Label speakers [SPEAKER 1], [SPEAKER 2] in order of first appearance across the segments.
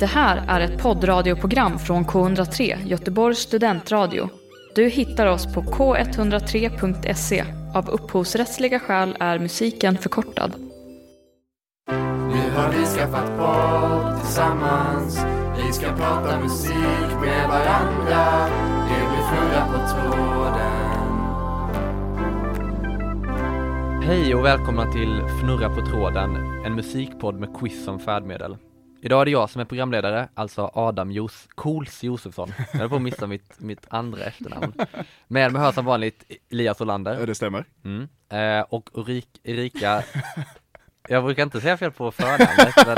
[SPEAKER 1] Det här är ett poddradioprogram från K103, Göteborgs studentradio. Du hittar oss på k103.se. Av upphovsrättsliga skäl är musiken förkortad.
[SPEAKER 2] Nu har vi skaffat podd tillsammans Vi ska prata musik med varandra Det blir Frulla på tråden
[SPEAKER 3] Hej och välkomna till Fnurra på tråden, en musikpodd med quiz som färdmedel. Idag är det jag som är programledare, alltså Adam Jos Cools Josefsson. Jag höll på att missa mitt, mitt andra efternamn. Med mig hör som vanligt Elias
[SPEAKER 4] Ja,
[SPEAKER 3] Olander
[SPEAKER 4] det stämmer.
[SPEAKER 3] mm. eh, och Ulrik, Erika, jag brukar inte säga fel på förnamnet, men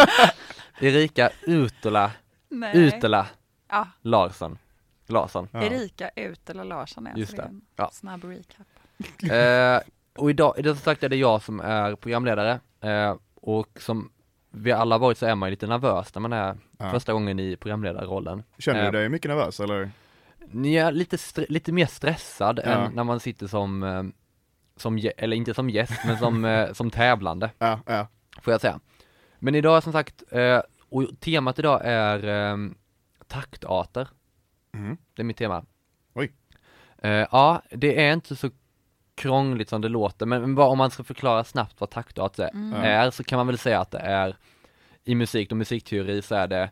[SPEAKER 3] Erika Utola,
[SPEAKER 5] Nej.
[SPEAKER 3] Utola
[SPEAKER 5] Ja,
[SPEAKER 3] Larsson. Larsson.
[SPEAKER 5] Erika Utela Larsson är
[SPEAKER 3] Just
[SPEAKER 5] alltså
[SPEAKER 3] det.
[SPEAKER 5] en
[SPEAKER 3] Ja.
[SPEAKER 5] snabb recap.
[SPEAKER 3] Eh, och idag, idag som sagt är det jag som är programledare eh, och som vi alla varit så är man ju lite nervös när man är
[SPEAKER 4] Ja.
[SPEAKER 3] första gången i programledarrollen.
[SPEAKER 4] Känner
[SPEAKER 3] Eh,
[SPEAKER 4] du dig mycket nervös eller?
[SPEAKER 3] Ni är lite, str- lite mer stressad
[SPEAKER 4] Ja.
[SPEAKER 3] än när man sitter som, eh, som, gä- eller inte som gäst, men som, eh, som tävlande,
[SPEAKER 4] Ja, ja.
[SPEAKER 3] får jag säga. Men idag som sagt, eh, och temat idag är eh, taktarter.
[SPEAKER 4] Mm.
[SPEAKER 3] Det är mitt tema.
[SPEAKER 4] Oj.
[SPEAKER 3] Eh, ja, det är inte så krångligt som det låter, men bara om man ska förklara snabbt vad taktart är, är så kan man väl säga att det är i musik och musikteori så är det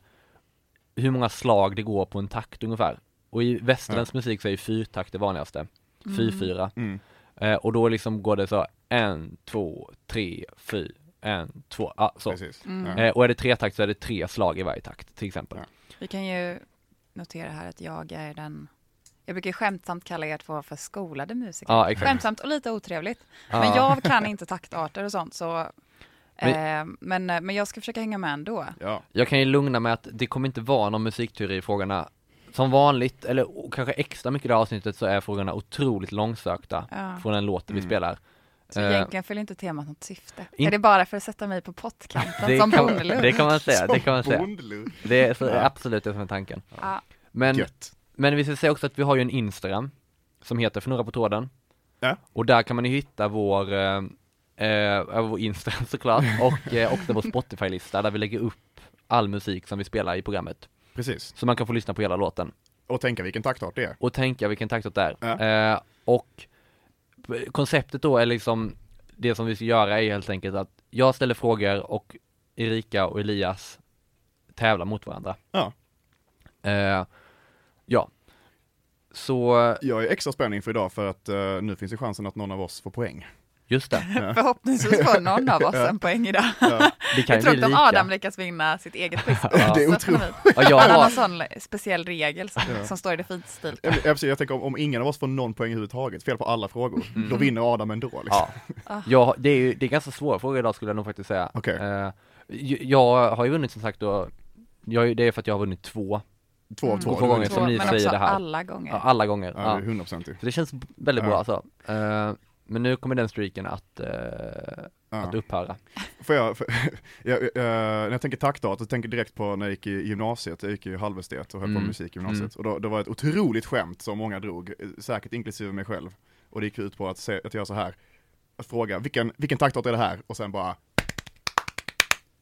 [SPEAKER 3] hur många slag det går på en takt ungefär. Och i västerländsk musik så är ju fyrtakt det vanligaste, fyrfyra.
[SPEAKER 4] Mm.
[SPEAKER 3] Eh, och då liksom går det så en, två, tre, fyra, en, två, ja så.
[SPEAKER 4] Precis. Ja.
[SPEAKER 3] Eh, och är det tretakt så är det tre slag i varje takt till exempel.
[SPEAKER 4] Ja.
[SPEAKER 5] Vi kan ju notera här att jag är den jag brukar skämtsamt kalla er två för skolade musiker.
[SPEAKER 3] Ja, exakt.
[SPEAKER 5] skämtsamt och lite otrevligt.
[SPEAKER 3] Ja.
[SPEAKER 5] Men jag kan inte taktarter och sånt så
[SPEAKER 3] Men-
[SPEAKER 5] men, eh, men, men jag ska försöka hänga med ändå.
[SPEAKER 4] Ja.
[SPEAKER 3] Jag kan ju lugna med att det kommer inte vara någon musikteori i frågorna. Som vanligt, eller o- kanske extra mycket i det här avsnittet, så är frågorna otroligt långsökta
[SPEAKER 5] Ja.
[SPEAKER 3] från den låten
[SPEAKER 4] Mm.
[SPEAKER 3] vi spelar.
[SPEAKER 5] Så
[SPEAKER 3] Eh,
[SPEAKER 5] egentligen fyller inte temat något syfte.
[SPEAKER 3] In-
[SPEAKER 5] Är det bara för att sätta mig på pottkanten
[SPEAKER 3] det,
[SPEAKER 5] som
[SPEAKER 3] kan,
[SPEAKER 5] Bonnelund?
[SPEAKER 3] det kan man säga, det kan man
[SPEAKER 4] Som
[SPEAKER 3] säga.
[SPEAKER 4] Bondlund.
[SPEAKER 3] Det är så, absolut det som är tanken.
[SPEAKER 5] Ja.
[SPEAKER 3] Men,
[SPEAKER 4] Gött.
[SPEAKER 3] men vi ska säga också att vi har ju en Instagram som heter Fnurra på tråden.
[SPEAKER 4] Ja.
[SPEAKER 3] Och där kan man ju hitta vår, eh, eh, vår Instagram såklart, och eh, också vår Spotify-lista där vi lägger upp all musik som vi spelar i programmet.
[SPEAKER 4] Precis.
[SPEAKER 3] Så man kan få lyssna på hela låten.
[SPEAKER 4] Och tänka vilken taktart det är.
[SPEAKER 3] och tänka vilken taktart det är.
[SPEAKER 4] Ja.
[SPEAKER 3] Eh, och p- konceptet då är liksom, det som vi ska göra är helt enkelt att jag ställer frågor och Erika och Elias tävlar mot varandra.
[SPEAKER 4] Ja.
[SPEAKER 3] Eh, ja. Så,
[SPEAKER 4] Jag är extra spänd inför idag för att eh, nu finns ju chansen att någon av oss får poäng.
[SPEAKER 3] just det.
[SPEAKER 5] Förhoppningsvis får någon av oss en poäng idag.
[SPEAKER 3] Det kan
[SPEAKER 5] Jag
[SPEAKER 3] ju
[SPEAKER 5] tror
[SPEAKER 3] bli
[SPEAKER 5] inte om
[SPEAKER 3] lika.
[SPEAKER 5] Adam lyckas vinna sitt eget quiz.
[SPEAKER 3] Ja. Det
[SPEAKER 4] är
[SPEAKER 5] Så
[SPEAKER 4] otroligt.
[SPEAKER 5] ekonomi.
[SPEAKER 3] Ja, jag
[SPEAKER 5] Han har
[SPEAKER 3] har,
[SPEAKER 5] någon sån speciell regel som, som står i det fint stilt.
[SPEAKER 4] Eller, Jag, jag tänker om, om ingen av oss får någon poäng överhuvudtaget, fel på alla frågor, då vinner Adam ändå. Liksom.
[SPEAKER 3] Mm. ja.
[SPEAKER 5] Ah.
[SPEAKER 3] jag, det är ju, det är ganska svåra frågor idag skulle jag nog faktiskt säga.
[SPEAKER 4] Okej.
[SPEAKER 3] Eh, j- jag har ju vunnit som sagt då, jag, har ju- det är för att jag har vunnit två,
[SPEAKER 4] Två av två.
[SPEAKER 3] Mm. Två gånger
[SPEAKER 4] Det är-
[SPEAKER 3] som ni
[SPEAKER 5] men
[SPEAKER 3] säger
[SPEAKER 5] också
[SPEAKER 3] det här.
[SPEAKER 5] alla gånger.
[SPEAKER 3] ja, alla gånger.
[SPEAKER 4] Ja, det är 100% ju.
[SPEAKER 3] Så det känns b- väldigt
[SPEAKER 4] Ja.
[SPEAKER 3] bra alltså. Eh, men nu kommer den streaken att, eh, att
[SPEAKER 4] Ja.
[SPEAKER 3] upphöra.
[SPEAKER 4] Får jag, för, jag, eh, när jag tänker taktart, så tänker jag direkt på när jag gick i gymnasiet, jag gick i halvestet och höll på
[SPEAKER 3] Mm.
[SPEAKER 4] med musik i gymnasiet. Och då, det var ett otroligt skämt som många drog, eh, säkert inklusive mig själv. Och det gick ut på att, se, att göra så här, att fråga vilken, vilken taktart är det här? Och sen bara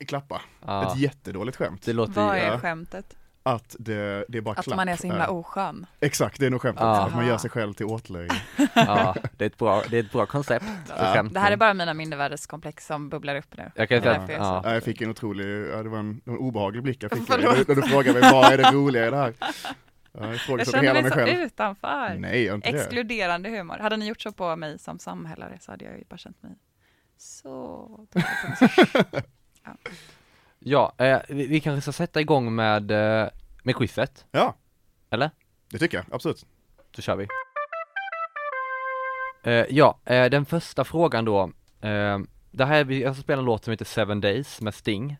[SPEAKER 4] klappa.
[SPEAKER 3] Ja.
[SPEAKER 4] Ett jättedåligt skämt.
[SPEAKER 3] Ah. Det låter
[SPEAKER 5] Vad
[SPEAKER 3] ju,
[SPEAKER 5] är
[SPEAKER 4] Ja.
[SPEAKER 5] skämtet?
[SPEAKER 4] Att det, det är bara
[SPEAKER 5] Att
[SPEAKER 4] klapp.
[SPEAKER 5] man är så
[SPEAKER 4] Ja.
[SPEAKER 5] himla oskön.
[SPEAKER 4] Exakt, det är nog skämtet.
[SPEAKER 3] Ja.
[SPEAKER 4] Att man gör sig själv till åtlöje.
[SPEAKER 3] ja, det är ett bra, det är ett bra koncept för skämt.
[SPEAKER 5] Det här är bara mina mindervärdeskomplex som bubblar upp nu.
[SPEAKER 3] Jag kan ju
[SPEAKER 5] Det är
[SPEAKER 3] säga,
[SPEAKER 5] därför jag är så-
[SPEAKER 3] ja,
[SPEAKER 4] Ja, jag fick en otrolig, ja, det var en, det var en obehaglig blick jag fick.
[SPEAKER 5] Förlåt.
[SPEAKER 4] När du- när du frågade mig, vad är det roliga i det här? Ja, jag
[SPEAKER 5] Jag
[SPEAKER 4] frågade
[SPEAKER 5] känner
[SPEAKER 4] hela
[SPEAKER 5] mig
[SPEAKER 4] mig
[SPEAKER 5] så
[SPEAKER 4] själv.
[SPEAKER 5] utanför.
[SPEAKER 4] Nej, jag har inte det.
[SPEAKER 5] Exkluderande humor. Hade ni gjort så på mig som samhällare så hade jag ju bara känt mig så dålig på mig.
[SPEAKER 3] ja eh, vi, vi kanske ska sätta igång med, eh, med quizet,
[SPEAKER 4] Ja,
[SPEAKER 3] eller?
[SPEAKER 4] det tycker jag, absolut.
[SPEAKER 3] Då kör vi. Eh, ja, eh, den första frågan då. Eh, det här är, vi- jag ska spela en låt som heter Seven Days med Sting.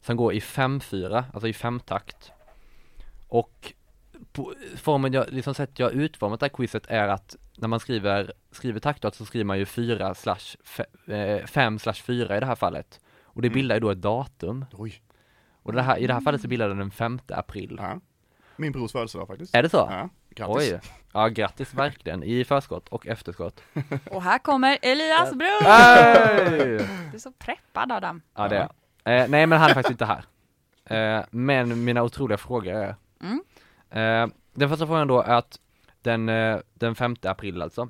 [SPEAKER 3] Som går i 5-4, alltså i femtakt. Och på, formen jag, liksom sätt jag har utformat det här quizet är att när man skriver, skriver taktart så skriver man ju 4 slash 5 slash 4 i det här fallet. Och det bildar ju då ett datum.
[SPEAKER 4] Oj.
[SPEAKER 3] Och det här, i det här fallet så bildar den den 5 april.
[SPEAKER 4] Ja. Min brors födelsedag faktiskt.
[SPEAKER 3] Är det så?
[SPEAKER 4] Ja, grattis.
[SPEAKER 3] Oj, ja grattis verkligen i förskott och efterskott.
[SPEAKER 5] Och här kommer Elias bror!
[SPEAKER 3] Hey!
[SPEAKER 5] Du är så preppad Adam.
[SPEAKER 3] Ja det är jag. eh, Nej men han är faktiskt inte här. Eh, men mina otroliga frågor är
[SPEAKER 5] Mm.
[SPEAKER 3] eh, Den första frågan då är att den, eh, den 5 april alltså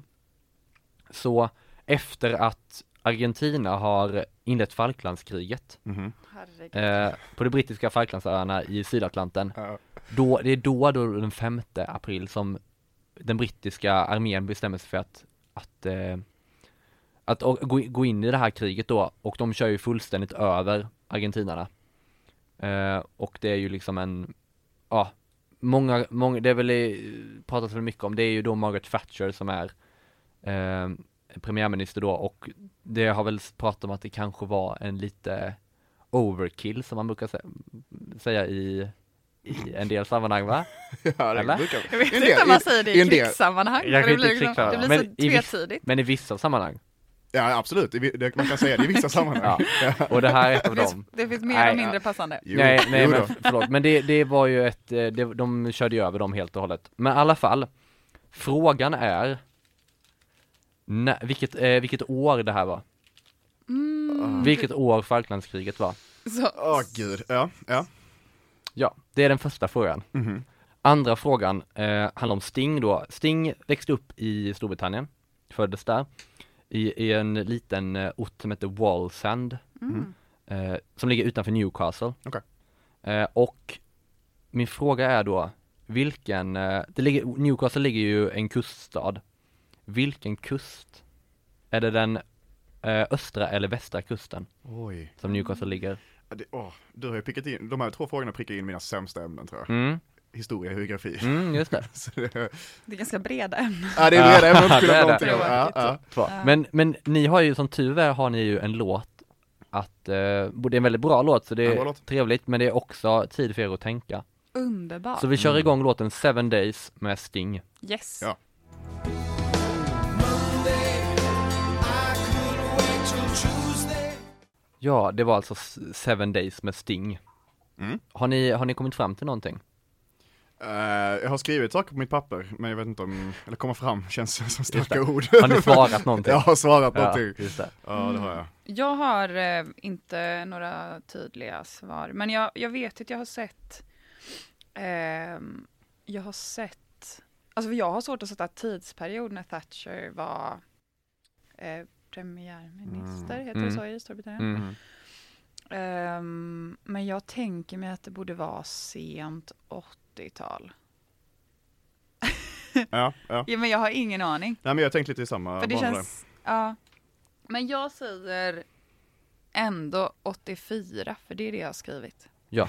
[SPEAKER 3] Så efter att Argentina har inlett Falklandskriget
[SPEAKER 4] Mhm.
[SPEAKER 5] Herregud.
[SPEAKER 3] eh, På de brittiska Falklandsöarna i Sydatlanten
[SPEAKER 4] Ja.
[SPEAKER 3] då, Det är då, då den 5 april som den brittiska armén bestämmer sig för att att, eh, att å- gå, gå in i det här kriget då och de kör ju fullständigt över argentinarna. Eh, och det är ju liksom en, ja, många, många, det är väl, eh, pratas väl mycket om, det är ju då Margaret Thatcher som är eh, premiärminister då och det har väl pratat om att det kanske var en lite overkill som man brukar sä- säga i, i en del sammanhang va?
[SPEAKER 4] ja, det
[SPEAKER 3] Eller?
[SPEAKER 4] brukar
[SPEAKER 5] Jag vet
[SPEAKER 4] en
[SPEAKER 5] inte
[SPEAKER 4] del-
[SPEAKER 5] om man säger det
[SPEAKER 4] i
[SPEAKER 5] i
[SPEAKER 4] en del.
[SPEAKER 5] krigssammanhang.
[SPEAKER 3] Jag kan
[SPEAKER 5] för Det
[SPEAKER 3] inte
[SPEAKER 5] blir, liksom,
[SPEAKER 3] krigssammanhang,
[SPEAKER 5] det blir
[SPEAKER 3] men
[SPEAKER 5] så
[SPEAKER 3] i viss-
[SPEAKER 5] tvetydigt.
[SPEAKER 3] Men i vissa sammanhang.
[SPEAKER 4] Ja, absolut. I vi- det- Man kan säga det i vissa
[SPEAKER 3] Ja.
[SPEAKER 4] sammanhang.
[SPEAKER 3] Och det här är ett av
[SPEAKER 5] Det finns,
[SPEAKER 3] dem.
[SPEAKER 5] det finns mer
[SPEAKER 3] Nej,
[SPEAKER 5] och
[SPEAKER 3] ja.
[SPEAKER 5] mindre passande.
[SPEAKER 4] Jo,
[SPEAKER 3] nej, nej
[SPEAKER 4] jo
[SPEAKER 3] men
[SPEAKER 4] då.
[SPEAKER 3] f- förlåt, men det, det var ju ett, eh, det, de körde ju över dem helt och hållet. Men i alla fall, frågan är, nä, vilket, eh, vilket år det här var? Vilket år Falklandskriget var?
[SPEAKER 5] Så,
[SPEAKER 4] Åh gud, ja, ja.
[SPEAKER 3] Ja, det är den första frågan. Andra frågan eh, handlar om Sting då. Sting växte upp i Storbritannien, föddes där, i, i en liten eh, ort som heter Wallsend, eh, som ligger utanför Newcastle.
[SPEAKER 4] Okej.
[SPEAKER 3] Eh, och min fråga är då, vilken, eh, det ligger, Newcastle ligger ju en kuststad. Vilken kust? Är det den eh, östra eller västra kusten
[SPEAKER 4] Oj.
[SPEAKER 3] som Newcastle ligger?
[SPEAKER 4] Ja, Det, åh, du har ju prickat in, de här två frågorna prickar in mina sämsta ämnen tror jag.
[SPEAKER 3] Mm,
[SPEAKER 4] Historia och geografi.
[SPEAKER 3] mm just det.
[SPEAKER 4] Så det,
[SPEAKER 5] Det är ganska breda ämnen.
[SPEAKER 4] ja, det är breda ämnen att
[SPEAKER 3] det är
[SPEAKER 4] kunna
[SPEAKER 3] det.
[SPEAKER 4] någonting om. Ja, ja.
[SPEAKER 3] kvar. Men, men ni har ju som tur är har ni ju en låt att, eh, både en väldigt bra låt så det
[SPEAKER 4] En bra
[SPEAKER 3] är
[SPEAKER 4] låt.
[SPEAKER 3] trevligt men det är också tid för er att tänka.
[SPEAKER 5] Underbart.
[SPEAKER 3] Så vi kör igång låten Seven Days med Sting.
[SPEAKER 5] Yes.
[SPEAKER 4] Ja.
[SPEAKER 3] Ja, det var alltså S- Seven Days med Sting.
[SPEAKER 4] Mm.
[SPEAKER 3] Har, ni, har ni kommit fram till någonting?
[SPEAKER 4] Eh, jag har skrivit saker på mitt papper, men jag vet inte om, eller komma fram känns som starka ord.
[SPEAKER 3] Har ni svarat någonting?
[SPEAKER 4] Jag har svarat
[SPEAKER 3] Ja,
[SPEAKER 4] någonting.
[SPEAKER 3] just det.
[SPEAKER 4] Ja, det har jag.
[SPEAKER 5] Jag har eh, inte några tydliga svar, men jag, jag vet att jag har sett... ehm, jag har sett... Alltså jag har svårt att sätta tidsperiod när Thatcher var eh, premiärminister, heter det
[SPEAKER 3] Mm.
[SPEAKER 5] så i Storbritannien?
[SPEAKER 3] Mm.
[SPEAKER 5] Ehm, men jag tänker mig att det borde vara sent 80-tal.
[SPEAKER 4] Ja, ja.
[SPEAKER 5] Ja, men jag har ingen aning.
[SPEAKER 4] Nej men jag har tänkt lite i samma
[SPEAKER 5] För det
[SPEAKER 4] banor
[SPEAKER 5] känns, ja. Men jag säger ändå 84, för det är det jag har skrivit.
[SPEAKER 3] Ja.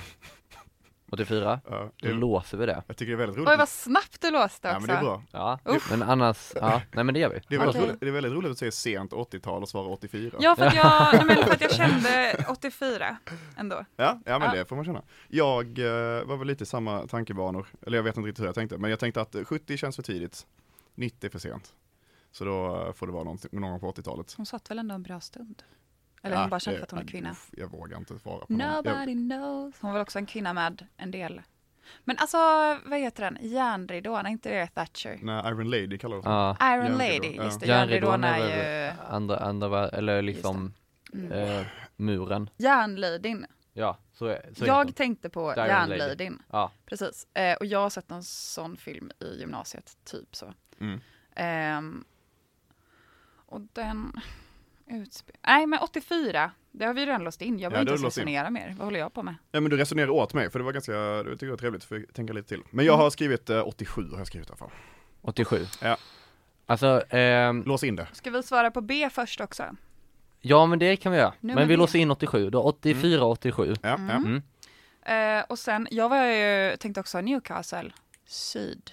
[SPEAKER 3] 84,
[SPEAKER 4] där. Ja,
[SPEAKER 3] då
[SPEAKER 4] det,
[SPEAKER 3] låser vi det
[SPEAKER 4] jag tycker det är väldigt roligt.
[SPEAKER 5] Oj, vad snabbt du låste också.
[SPEAKER 4] ja, men det är bra.
[SPEAKER 3] Ja,
[SPEAKER 5] Uff.
[SPEAKER 3] men annars, ja, nej men det gör vi.
[SPEAKER 4] Det är, väldigt
[SPEAKER 5] Okej.
[SPEAKER 4] roligt, det är väldigt roligt att säga sent 80-tal och svara 84.
[SPEAKER 5] Ja, för att jag, nej, men för att jag kände 84 ändå.
[SPEAKER 4] Ja, ja men
[SPEAKER 5] Ja.
[SPEAKER 4] det får man känna. Jag eh, var väl lite i samma tankebanor, eller jag vet inte riktigt hur jag tänkte, men jag tänkte att eh, 70 känns för tidigt, 90 för sent. Så då eh, får det vara någonting- någon gång på 80-talet.
[SPEAKER 5] Hon satt väl ändå en bra stund? Eller
[SPEAKER 4] Ja,
[SPEAKER 5] hon bara kände
[SPEAKER 4] det-
[SPEAKER 5] att hon är kvinna.
[SPEAKER 4] uff, Jag vågar inte svara på någon. Jag,
[SPEAKER 5] Nobody knows. Hon var också en kvinna med en del. Men alltså, vad heter den? Järnridån, är inte det Thatcher?
[SPEAKER 4] nej, Iron Lady kallar det så.
[SPEAKER 3] Ja.
[SPEAKER 5] Iron Lady,
[SPEAKER 4] Järnridån, ja.
[SPEAKER 5] just det.
[SPEAKER 3] Järnridån
[SPEAKER 5] Järnridån
[SPEAKER 3] är
[SPEAKER 5] är
[SPEAKER 3] väl-
[SPEAKER 5] ju
[SPEAKER 3] Andra, andra, var- eller liksom
[SPEAKER 5] Mm.
[SPEAKER 3] eh, muren.
[SPEAKER 5] järnladyn.
[SPEAKER 3] Ja, så är, så heter
[SPEAKER 5] Jag
[SPEAKER 3] den.
[SPEAKER 5] tänkte på
[SPEAKER 3] Iron Lady.
[SPEAKER 5] järnladyn.
[SPEAKER 3] Ja,
[SPEAKER 5] Precis, eh, och jag har sett någon sån film i gymnasiet, typ så.
[SPEAKER 4] Mm.
[SPEAKER 5] Ehm, och den utspelar... Nej, men 84, det har vi redan låst in. Jag
[SPEAKER 4] Ja,
[SPEAKER 5] behöver
[SPEAKER 4] det har
[SPEAKER 5] inte
[SPEAKER 4] du låst
[SPEAKER 5] ens
[SPEAKER 4] in.
[SPEAKER 5] resonera mer. Vad håller jag på med?
[SPEAKER 4] Ja men du resonerar åt mig, för det var ganska, det tycker jag var trevligt, för jag tänker lite till. Men jag har skrivit eh, 87, har jag skrivit i alla fall.
[SPEAKER 3] 87.
[SPEAKER 4] Ja.
[SPEAKER 3] Alltså, ehm,
[SPEAKER 4] Lås in det.
[SPEAKER 5] Ska vi svara på B först också?
[SPEAKER 3] ja men det kan vi göra.
[SPEAKER 5] Nummer
[SPEAKER 3] men vi
[SPEAKER 5] B.
[SPEAKER 3] låser in 87, då 84,
[SPEAKER 4] Mm.
[SPEAKER 3] 87.
[SPEAKER 4] Ja, ja.
[SPEAKER 5] Eh, och sen, jag var ju, tänkte också Newcastle, syd.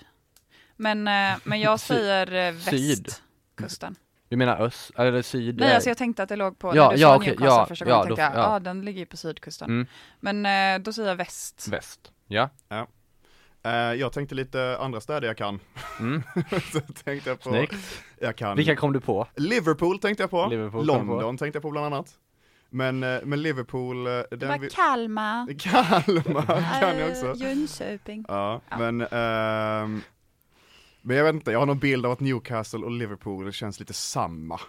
[SPEAKER 5] Men, eh, men jag
[SPEAKER 3] Syd.
[SPEAKER 5] säger eh,
[SPEAKER 3] Syd.
[SPEAKER 5] västkusten.
[SPEAKER 3] Du menar öst, eller syd?
[SPEAKER 5] Nej,
[SPEAKER 3] eh,
[SPEAKER 5] alltså jag tänkte att det låg på,
[SPEAKER 3] Ja,
[SPEAKER 5] när du
[SPEAKER 3] ja,
[SPEAKER 5] sa
[SPEAKER 3] okej,
[SPEAKER 5] Newcastle
[SPEAKER 3] ja,
[SPEAKER 5] första
[SPEAKER 3] ja,
[SPEAKER 5] gången, tänkte
[SPEAKER 3] då-
[SPEAKER 5] jag,
[SPEAKER 3] ja.
[SPEAKER 5] ja, den ligger ju på sydkusten.
[SPEAKER 3] Mm.
[SPEAKER 5] Men eh, då säger jag väst.
[SPEAKER 3] Väst. Ja.
[SPEAKER 4] Eh, jag tänkte lite andra städer jag kan.
[SPEAKER 3] Mm.
[SPEAKER 4] så tänkte jag på,
[SPEAKER 3] Snyggt.
[SPEAKER 4] jag kan.
[SPEAKER 3] Vilka kom du på?
[SPEAKER 4] Liverpool tänkte jag på,
[SPEAKER 3] Liverpool kom
[SPEAKER 4] London tänkte jag på bland annat. Men, eh, men Liverpool, eh,
[SPEAKER 5] Det
[SPEAKER 4] den
[SPEAKER 5] var
[SPEAKER 4] vi...
[SPEAKER 5] Kalmar.
[SPEAKER 4] Kalmar kan
[SPEAKER 5] Äh,
[SPEAKER 4] jag också.
[SPEAKER 5] Eh, Jönköping.
[SPEAKER 4] Ja, men, ehm, men jag vet inte, jag har någon bild av att Newcastle och Liverpool känns lite samma.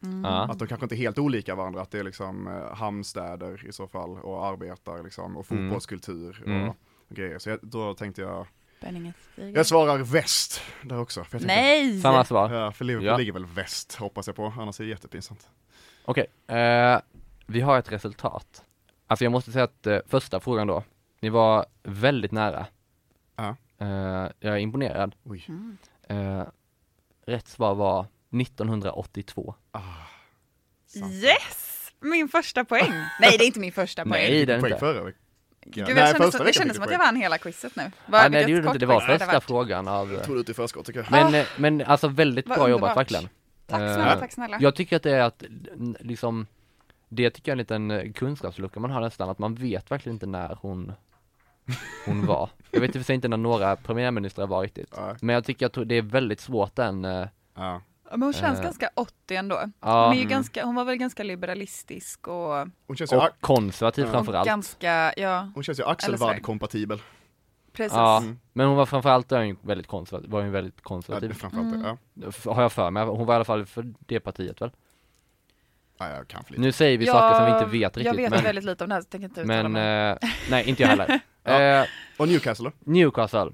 [SPEAKER 3] Ja.
[SPEAKER 5] Mm.
[SPEAKER 4] Att de kanske inte är helt olika varandra, att det är liksom eh, hamnstäder i så fall och arbetar liksom och
[SPEAKER 3] Mm.
[SPEAKER 4] fotbollskultur
[SPEAKER 3] Mm.
[SPEAKER 4] och grejer. Så jag, då tänkte jag,
[SPEAKER 6] Spänningen stiger.
[SPEAKER 4] jag svarar väst där också. För jag tänkte-
[SPEAKER 6] Nej!
[SPEAKER 3] Samma svar?
[SPEAKER 4] Ja, för Liverpool
[SPEAKER 3] Ja.
[SPEAKER 4] ligger väl väst hoppas jag på, annars är det jättepinsamt.
[SPEAKER 3] Okej, eh, vi har ett resultat. Alltså jag måste säga att eh, första frågan då, ni var väldigt nära.
[SPEAKER 4] Ja.
[SPEAKER 3] Eh, jag är imponerad.
[SPEAKER 4] Oj.
[SPEAKER 6] Mm.
[SPEAKER 3] Eh, rätt svar var 1982.
[SPEAKER 4] Sant.
[SPEAKER 5] Yes! Min första poäng. Nej, det är inte min första poäng.
[SPEAKER 3] Nej, det är det
[SPEAKER 4] Poäng
[SPEAKER 3] inte.
[SPEAKER 4] förra veckan.
[SPEAKER 5] Gud,
[SPEAKER 4] Nej,
[SPEAKER 5] jag kändes,
[SPEAKER 4] första
[SPEAKER 5] som, det
[SPEAKER 4] veckan
[SPEAKER 5] kändes
[SPEAKER 4] fick
[SPEAKER 5] som att
[SPEAKER 4] du
[SPEAKER 5] jag vann hela quizet nu. Var,
[SPEAKER 3] Ah, nej, det gjorde
[SPEAKER 5] kort
[SPEAKER 3] inte. Det var
[SPEAKER 5] quiz hade
[SPEAKER 3] första
[SPEAKER 5] varit.
[SPEAKER 3] frågan av...
[SPEAKER 4] Jag tog det ut i förskott tycker jag.
[SPEAKER 3] Men, eh, men alltså väldigt
[SPEAKER 5] Vad
[SPEAKER 3] bra jobbat
[SPEAKER 5] underbart.
[SPEAKER 3] verkligen.
[SPEAKER 5] Tack
[SPEAKER 3] Eh,
[SPEAKER 5] snälla, tack snälla.
[SPEAKER 3] Jag tycker att det är att, n- liksom, det tycker jag är en liten eh, kunskapslucka man har nästan, att man vet verkligen inte när hon, hon var. Jag vet i och för sig inte när några premiärministrar var riktigt.
[SPEAKER 4] Ja,
[SPEAKER 3] Men jag tycker att det är väldigt svårt den, eh,
[SPEAKER 4] ja.
[SPEAKER 5] Ja, Men hon känns
[SPEAKER 3] Eh.
[SPEAKER 5] ganska 80 ändå.
[SPEAKER 3] ja,
[SPEAKER 5] hon, är ju ganska, hon var väl ganska liberalistisk och,
[SPEAKER 4] Hon känns ju,
[SPEAKER 3] och
[SPEAKER 4] a-
[SPEAKER 3] konservativ
[SPEAKER 4] Ja.
[SPEAKER 5] och
[SPEAKER 3] framförallt.
[SPEAKER 5] ganska, ja
[SPEAKER 4] hon känns ju
[SPEAKER 5] Eller
[SPEAKER 4] Axel
[SPEAKER 5] så här.
[SPEAKER 4] Wad-kompatibel.
[SPEAKER 5] precis.
[SPEAKER 3] Ja,
[SPEAKER 4] Mm.
[SPEAKER 3] men hon var framförallt en väldigt konservativ, var ju en väldigt
[SPEAKER 4] Ja,
[SPEAKER 3] konservativ,
[SPEAKER 4] framförallt
[SPEAKER 5] Mm.
[SPEAKER 4] det. Ja.
[SPEAKER 3] f- har jag för mig. Hon var i alla fall för det partiet väl?
[SPEAKER 4] Ja, jag kan för lite.
[SPEAKER 3] Nu säger vi
[SPEAKER 5] Jag-
[SPEAKER 3] saker som vi inte vet
[SPEAKER 5] Jag
[SPEAKER 3] riktigt,
[SPEAKER 5] vet
[SPEAKER 3] men,
[SPEAKER 5] väldigt lite om det här så jag tänker inte uttala
[SPEAKER 3] men
[SPEAKER 5] mig.
[SPEAKER 3] eh, nej inte jag heller.
[SPEAKER 4] Ja.
[SPEAKER 3] Eh,
[SPEAKER 4] Och Newcastle då?
[SPEAKER 3] Newcastle.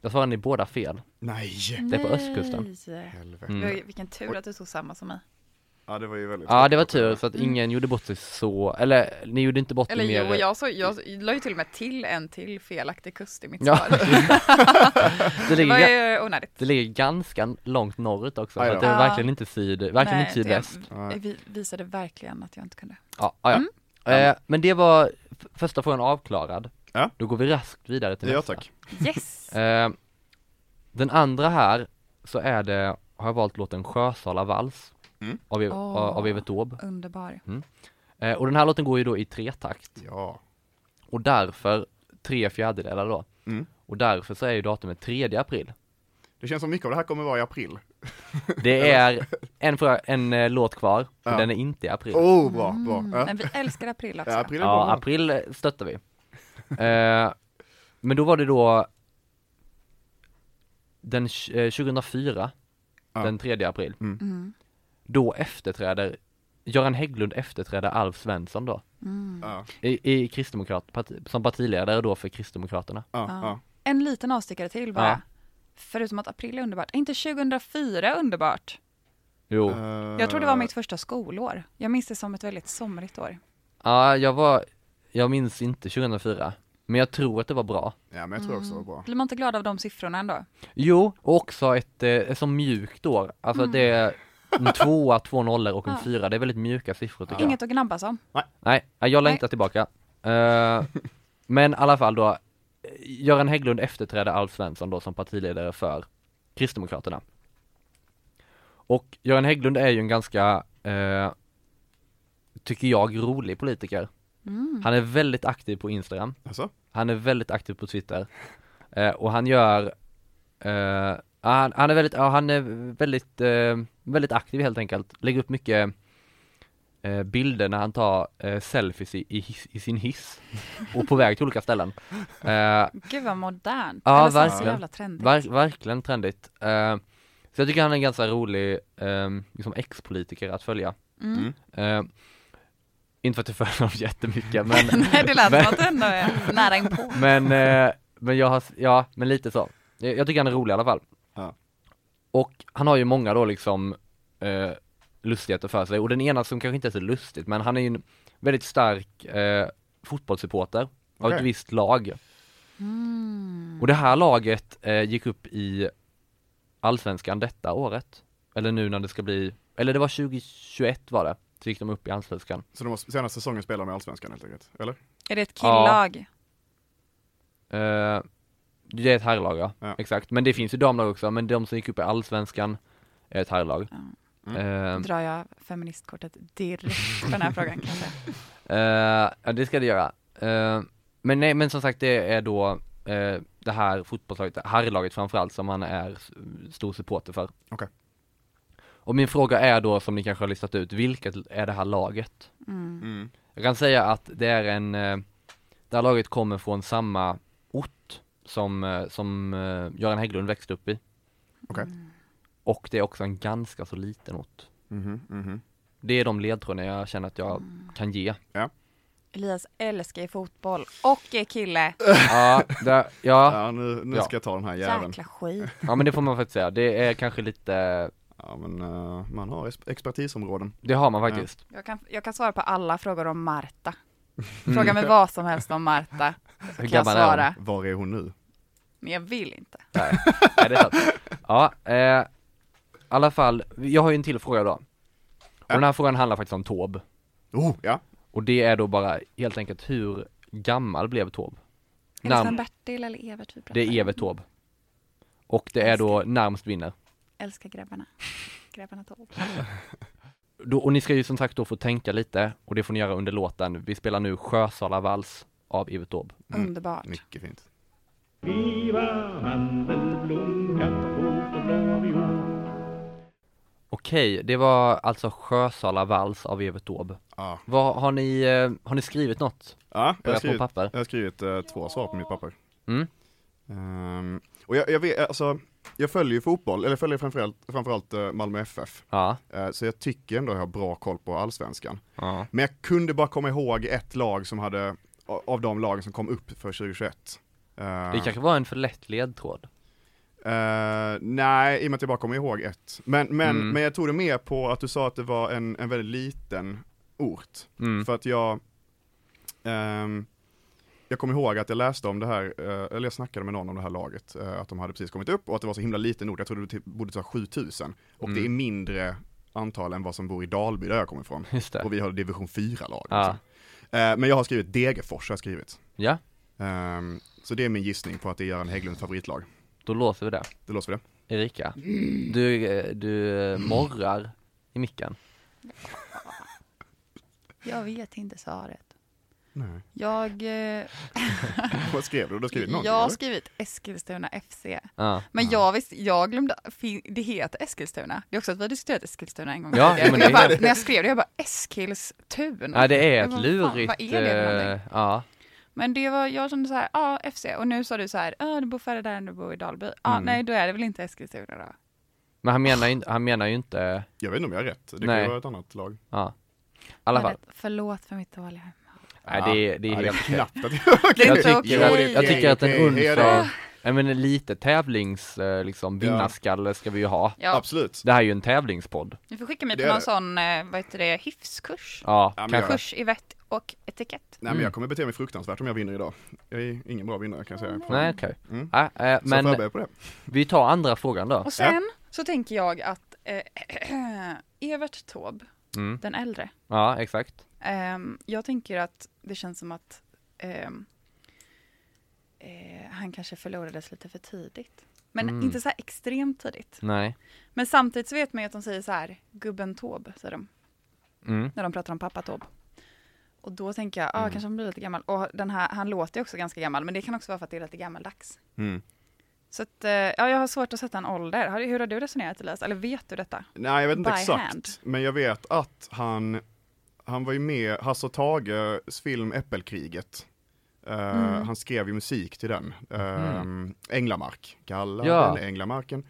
[SPEAKER 3] Där svarade ni båda fel.
[SPEAKER 5] Mm.
[SPEAKER 4] Nej!
[SPEAKER 3] Det är på östkusten.
[SPEAKER 6] Nej.
[SPEAKER 4] Helvete.
[SPEAKER 3] Mm.
[SPEAKER 5] Oj, eh, Vilken tur att du tog samma som mig.
[SPEAKER 4] Ja, det var ju väldigt
[SPEAKER 3] Ja det var typ- tur så att ingen gjorde bort sig så, eller ni gjorde inte bort
[SPEAKER 5] Mm. Eller
[SPEAKER 3] er mer.
[SPEAKER 5] jo, och jag, så, jag la ju till och med till en till felaktig kust i mitt
[SPEAKER 3] Ja.
[SPEAKER 5] svar.
[SPEAKER 3] det,
[SPEAKER 5] Det
[SPEAKER 3] ligger,
[SPEAKER 5] var
[SPEAKER 3] ga-
[SPEAKER 5] ju onödigt.
[SPEAKER 3] det ligger ganska långt norrut också, så
[SPEAKER 4] Aj då.
[SPEAKER 3] att det är
[SPEAKER 5] Ja.
[SPEAKER 3] verkligen inte syd, verkligen
[SPEAKER 5] Nej,
[SPEAKER 3] inte sydväst.
[SPEAKER 5] det-
[SPEAKER 4] Ja.
[SPEAKER 5] Vi visade verkligen att jag inte kunde.
[SPEAKER 3] Ja, ja. ja.
[SPEAKER 5] Mm.
[SPEAKER 3] Eh, men det var f- första frågan avklarad.
[SPEAKER 4] Ja.
[SPEAKER 3] Då går vi raskt vidare till
[SPEAKER 4] Ja
[SPEAKER 3] nästa.
[SPEAKER 4] tack.
[SPEAKER 5] Yes!
[SPEAKER 3] Eh, den andra här, så är det, har jag valt låten Sjösala vals
[SPEAKER 4] Mm.
[SPEAKER 3] av, Ev-
[SPEAKER 5] Åh.
[SPEAKER 3] av Evert Taube.
[SPEAKER 5] Underbar.
[SPEAKER 3] Eh, och den här låten går ju då i tretakt.
[SPEAKER 4] Ja.
[SPEAKER 3] Och därför, tre fjärdedelar då.
[SPEAKER 4] Mm.
[SPEAKER 3] Och därför så är ju datumet 3 april.
[SPEAKER 4] Det känns som mycket av det här kommer vara i april.
[SPEAKER 3] Det är en, fråga, en eh, låt kvar, och
[SPEAKER 4] Ja.
[SPEAKER 3] den är inte i april.
[SPEAKER 4] Oh, bra, bra. Ja.
[SPEAKER 5] Mm. Men vi älskar april också.
[SPEAKER 4] Ja, april är bra.
[SPEAKER 3] ja, april eh, stöttar vi. eh, men då var det då den tj- eh, 2004,
[SPEAKER 4] Ja.
[SPEAKER 3] den 3 april.
[SPEAKER 5] Mm.
[SPEAKER 3] Då efterträder Göran Hägglund efterträder Alf Svensson då,
[SPEAKER 5] Mm.
[SPEAKER 4] Ja,
[SPEAKER 3] i, i Kristdemokrat, parti, som partiledare då för Kristdemokraterna.
[SPEAKER 4] ja,
[SPEAKER 5] Ja.
[SPEAKER 4] ja.
[SPEAKER 5] En liten avstickare till bara.
[SPEAKER 3] Ja.
[SPEAKER 5] Förutom att april är underbart. Är inte 2004 underbart?
[SPEAKER 3] Jo,
[SPEAKER 4] Eh,
[SPEAKER 5] Jag tror det var mitt första skolår. Jag minns det som ett väldigt somrigt år.
[SPEAKER 3] ja jag var, jag minns inte 2004, men jag tror att det var bra.
[SPEAKER 4] Ja, men jag tror också det var bra.
[SPEAKER 5] Blir man inte glad av de siffrorna ändå?
[SPEAKER 3] Jo, och också ett, eh, ett så mjukt år, alltså det är en tvåa, två nollor och en
[SPEAKER 5] Mm. Ja.
[SPEAKER 3] fyra, det är väldigt mjuka siffror tycker jag.
[SPEAKER 5] Inget att gnabbas om.
[SPEAKER 3] Nej, nej, jag
[SPEAKER 5] Nej.
[SPEAKER 3] längtar tillbaka. Eh, men i alla fall då, eh, Göran Hägglund efterträdde Alf Svensson då som partiledare för Kristdemokraterna. Och Göran Hägglund är ju en ganska, eh, tycker jag, rolig politiker. Han är väldigt aktiv på Instagram,
[SPEAKER 4] Alltså?
[SPEAKER 3] han är väldigt aktiv på Twitter. Eh, och han gör, eh, han, han är väldigt, ja, han är väldigt, eh, väldigt aktiv helt enkelt. Lägger upp mycket eh, bilder när han tar eh, selfies i, i, hiss, i sin hiss och på väg till olika ställen. Eh,
[SPEAKER 5] Gud vad modernt.
[SPEAKER 3] Ja,
[SPEAKER 5] Eller så- så
[SPEAKER 3] verkligen.
[SPEAKER 5] jävla trendigt.
[SPEAKER 3] ver, verkligen trendigt. Eh, så jag tycker han är en ganska rolig eh, liksom ex-politiker att följa.
[SPEAKER 5] Mm.
[SPEAKER 3] Eh, inte för att jag följer honom jättemycket men,
[SPEAKER 5] Nej, det lät som att du ändå är nära inpå.
[SPEAKER 3] men, eh, men jag har, ja men lite så. Jag, jag tycker han är rolig i alla fall.
[SPEAKER 4] Ja.
[SPEAKER 3] Och han har ju många då liksom eh, lustigheter för sig och den ena som kanske inte är så lustigt men han är ju en väldigt stark eh, fotbollssupporter av ett
[SPEAKER 4] Okej.
[SPEAKER 3] visst lag. Och det här laget eh, gick upp i Allsvenskan detta året. Eller nu när det ska bli, eller det var 2021 var det, så gick de upp i Allsvenskan.
[SPEAKER 4] Så de har senaste säsongen spelar med Allsvenskan helt enkelt, eller?
[SPEAKER 5] Är det ett killag?
[SPEAKER 3] Eh, det är ett herrlag ja.
[SPEAKER 4] Ja.
[SPEAKER 3] exakt. Men det finns ju damlag också, men de som gick upp i Allsvenskan är ett herrlag. Eh,
[SPEAKER 5] Drar jag feministkortet direkt på den här frågan kanske.
[SPEAKER 3] Eh, ja det ska det göra. Eh, men nej, men som sagt det är då eh, det här fotbollslaget, det här laget framförallt som han är s- stor supporter för.
[SPEAKER 4] Okej.
[SPEAKER 3] Och min fråga är då som ni kanske har listat ut, vilket är det här laget?
[SPEAKER 4] Mm.
[SPEAKER 3] Jag kan säga att det är en, eh, det här laget kommer från samma ort som, eh, som eh, Göran Hägglund växte upp i. Mm.
[SPEAKER 4] Okej.
[SPEAKER 3] Och det är också en ganska så liten ort.
[SPEAKER 4] Mhm, mhm.
[SPEAKER 3] Det är de ledtrådarna jag känner att jag kan ge.
[SPEAKER 5] Elias älskar ju fotboll och är kille.
[SPEAKER 3] Äh, Ja, det, ja,
[SPEAKER 4] Ja, nu, nu
[SPEAKER 3] Ja.
[SPEAKER 4] ska jag ta den här jäveln.
[SPEAKER 5] Jäkla skit.
[SPEAKER 3] ja men det får man faktiskt säga. Det är kanske lite,
[SPEAKER 4] Ja, men eh, man har ex- expertisområden.
[SPEAKER 3] det har man faktiskt.
[SPEAKER 5] Jag kan, jag kan svara på alla frågor om Marta. Fråga mig vad som helst om Marta. Så
[SPEAKER 3] Mm. Hur
[SPEAKER 5] kan jag
[SPEAKER 3] gammal är hon?
[SPEAKER 5] svara.
[SPEAKER 4] Var är hon nu?
[SPEAKER 5] Men jag vill inte.
[SPEAKER 3] Nej, det är sant. Ja, eh, i alla fall, jag har ju en till fråga då. Och den här frågan handlar faktiskt om Tob.
[SPEAKER 4] Oh, ja.
[SPEAKER 3] Och det är då bara helt enkelt hur gammal blev Tob?
[SPEAKER 5] Är det
[SPEAKER 3] Namn.
[SPEAKER 5] Sven-Bertil eller Evert vi pratar
[SPEAKER 3] Det
[SPEAKER 5] om?
[SPEAKER 3] är Evert Taube. Och det är då närmst vinner.
[SPEAKER 5] Älskar grabbarna. Grabbarna tolv.
[SPEAKER 3] Då, och ni ska ju som sagt då få tänka lite och det får ni göra under låten. Vi spelar nu Sjösala vals av Evert Taube.
[SPEAKER 5] Underbart.
[SPEAKER 4] Mycket fint.
[SPEAKER 6] Viva mandelblom, kattfot och blå viol.
[SPEAKER 3] Okej, det var alltså Sjösala vals av Evert Taube.
[SPEAKER 4] Ja,
[SPEAKER 3] Vad har ni, eh, har ni skrivit något?
[SPEAKER 4] ja jag
[SPEAKER 3] Börja
[SPEAKER 4] har
[SPEAKER 3] på
[SPEAKER 4] skrivit,
[SPEAKER 3] papper.
[SPEAKER 4] jag har skrivit eh, två svar på mitt papper.
[SPEAKER 3] Mm.
[SPEAKER 4] Ehm, och jag, jag vet, alltså, jag följer ju fotboll, eller jag följer framförallt, framförallt eh, Malmö FF.
[SPEAKER 3] Ja.
[SPEAKER 4] Eh, så jag tycker ändå jag har bra koll på allsvenskan.
[SPEAKER 3] Ja.
[SPEAKER 4] Men jag kunde bara komma ihåg ett lag som hade, a- av de lagen som kom upp för 2021. Eh,
[SPEAKER 3] Det kanske var en för lätt ledtråd.
[SPEAKER 4] eh, nej, i och med att jag bara kommer ihåg ett. Men, men,
[SPEAKER 3] Mm.
[SPEAKER 4] men jag tog det med på att du sa att det var en, en väldigt liten ort.
[SPEAKER 3] Mm.
[SPEAKER 4] För att jag ehm, Jag kommer ihåg att jag läste om det här, eh, eller jag snackade med någon om det här laget, eh, att de hade precis kommit upp och att det var så himla liten ort, jag trodde det typ borde ta 7000 och
[SPEAKER 3] Mm.
[SPEAKER 4] det är mindre antal än vad som bor i Dalby där jag kommer ifrån.
[SPEAKER 3] Just det.
[SPEAKER 4] Och vi har division 4-lag.
[SPEAKER 3] Ja.
[SPEAKER 4] liksom. Eh, Men jag har skrivit Degerfors, har jag skrivit.
[SPEAKER 3] Ja,
[SPEAKER 4] Ehm, Så det är min gissning på att det är Göran Hägglunds favoritlag.
[SPEAKER 3] då låser vi det.
[SPEAKER 4] Det låser vi det?
[SPEAKER 3] Erika, du, eh, du eh, morrar i micken.
[SPEAKER 5] Jag vet inte svaret.
[SPEAKER 4] Nej.
[SPEAKER 5] Jag, eh,
[SPEAKER 4] Vad skrev du? Du har skrivit någonting?
[SPEAKER 5] jag har
[SPEAKER 4] eller?
[SPEAKER 5] skrivit Eskilstuna FC.
[SPEAKER 3] Ja.
[SPEAKER 5] Men jag visste, jag glömde, fin- det heter Eskilstuna. Det är också att vi har diskuterat Eskilstuna en gång
[SPEAKER 3] Ja,
[SPEAKER 5] tidigare.
[SPEAKER 3] men
[SPEAKER 5] jag
[SPEAKER 3] det
[SPEAKER 5] bara,
[SPEAKER 3] är-
[SPEAKER 5] När jag skrev det, jag bara Eskilstuna.
[SPEAKER 3] Ja, det är
[SPEAKER 5] Jag
[SPEAKER 3] ett
[SPEAKER 5] bara,
[SPEAKER 3] lurigt...
[SPEAKER 5] Fan, vad är det för någonting?
[SPEAKER 3] eh, ja.
[SPEAKER 5] Men det var, jag kände så här, ja FC. Och nu sa du så här, ja du bor färre där än du bor i Dalby. Ja,
[SPEAKER 3] Mm.
[SPEAKER 5] nej då är det väl inte Eskilstuna då.
[SPEAKER 3] Men han menar, ju inte- han menar ju inte,
[SPEAKER 4] Jag vet inte om jag har rätt, det kan
[SPEAKER 3] Nej.
[SPEAKER 4] ju vara ett annat lag.
[SPEAKER 3] ja. I alla
[SPEAKER 5] Men
[SPEAKER 3] fall.
[SPEAKER 5] det- Förlåt för mitt dåliga humör.
[SPEAKER 3] Nej, det, är- det är
[SPEAKER 4] Ja,
[SPEAKER 3] helt okej.
[SPEAKER 4] knappt att jag
[SPEAKER 5] Det är
[SPEAKER 3] Jag
[SPEAKER 5] inte
[SPEAKER 3] tycker,
[SPEAKER 5] okej.
[SPEAKER 3] att, jag tycker att en
[SPEAKER 4] Okej, okej,
[SPEAKER 3] onsdag, nej men lite tävlings, eh, liksom
[SPEAKER 4] Ja.
[SPEAKER 3] vinnarskalle ska vi ju ha.
[SPEAKER 5] Ja,
[SPEAKER 4] Absolut.
[SPEAKER 3] Det här är ju en tävlingspodd.
[SPEAKER 5] ni får skicka mig
[SPEAKER 4] Det
[SPEAKER 5] på
[SPEAKER 4] är
[SPEAKER 5] någon
[SPEAKER 4] det.
[SPEAKER 5] sån, eh, vad heter det, hyfskurs.
[SPEAKER 3] Ja,
[SPEAKER 4] men
[SPEAKER 3] kanske.
[SPEAKER 5] Kurs i vett och etikett.
[SPEAKER 4] Nej men jag kommer bete mig fruktansvärt om jag vinner idag. Jag är ingen bra vinnare kan jag säga.
[SPEAKER 3] Nej okej.
[SPEAKER 4] Mm.
[SPEAKER 3] Ja, eh,
[SPEAKER 4] Så Mm. men...
[SPEAKER 3] men
[SPEAKER 4] förbered på det.
[SPEAKER 3] vi tar andra frågan då.
[SPEAKER 5] Och sen så tänker jag att eh, Evert Taube,
[SPEAKER 3] Mm.
[SPEAKER 5] den äldre,
[SPEAKER 3] Ja, exakt.
[SPEAKER 5] Ehm, jag tänker att det känns som att ehm, eh, han kanske förlorades lite för tidigt. Men
[SPEAKER 3] Mm.
[SPEAKER 5] inte så här extremt tidigt.
[SPEAKER 3] Nej.
[SPEAKER 5] Men samtidigt så vet man ju att de säger så här, gubben Taube, säger de,
[SPEAKER 3] Mm.
[SPEAKER 5] när de pratar om pappa Taube. Och då tänker jag, ja ah,
[SPEAKER 4] Mm.
[SPEAKER 5] kanske han blir lite gammal. Och den här, han låter ju också ganska gammal, men det kan också vara för att det är lite gammaldags.
[SPEAKER 4] Mm.
[SPEAKER 5] Så att, eh, ja, jag har svårt att sätta en ålder. Har, hur har du resonerat Elias? Eller vet du detta?
[SPEAKER 4] Nej jag vet inte
[SPEAKER 5] By
[SPEAKER 4] exakt.
[SPEAKER 5] hand.
[SPEAKER 4] Men jag vet att han, han var ju med, Hasse och Tages film Äppelkriget. Eh,
[SPEAKER 5] Mm.
[SPEAKER 4] Han skrev ju musik till den. Eh, Änglamark, kallar
[SPEAKER 3] Ja.
[SPEAKER 4] den Änglamarken.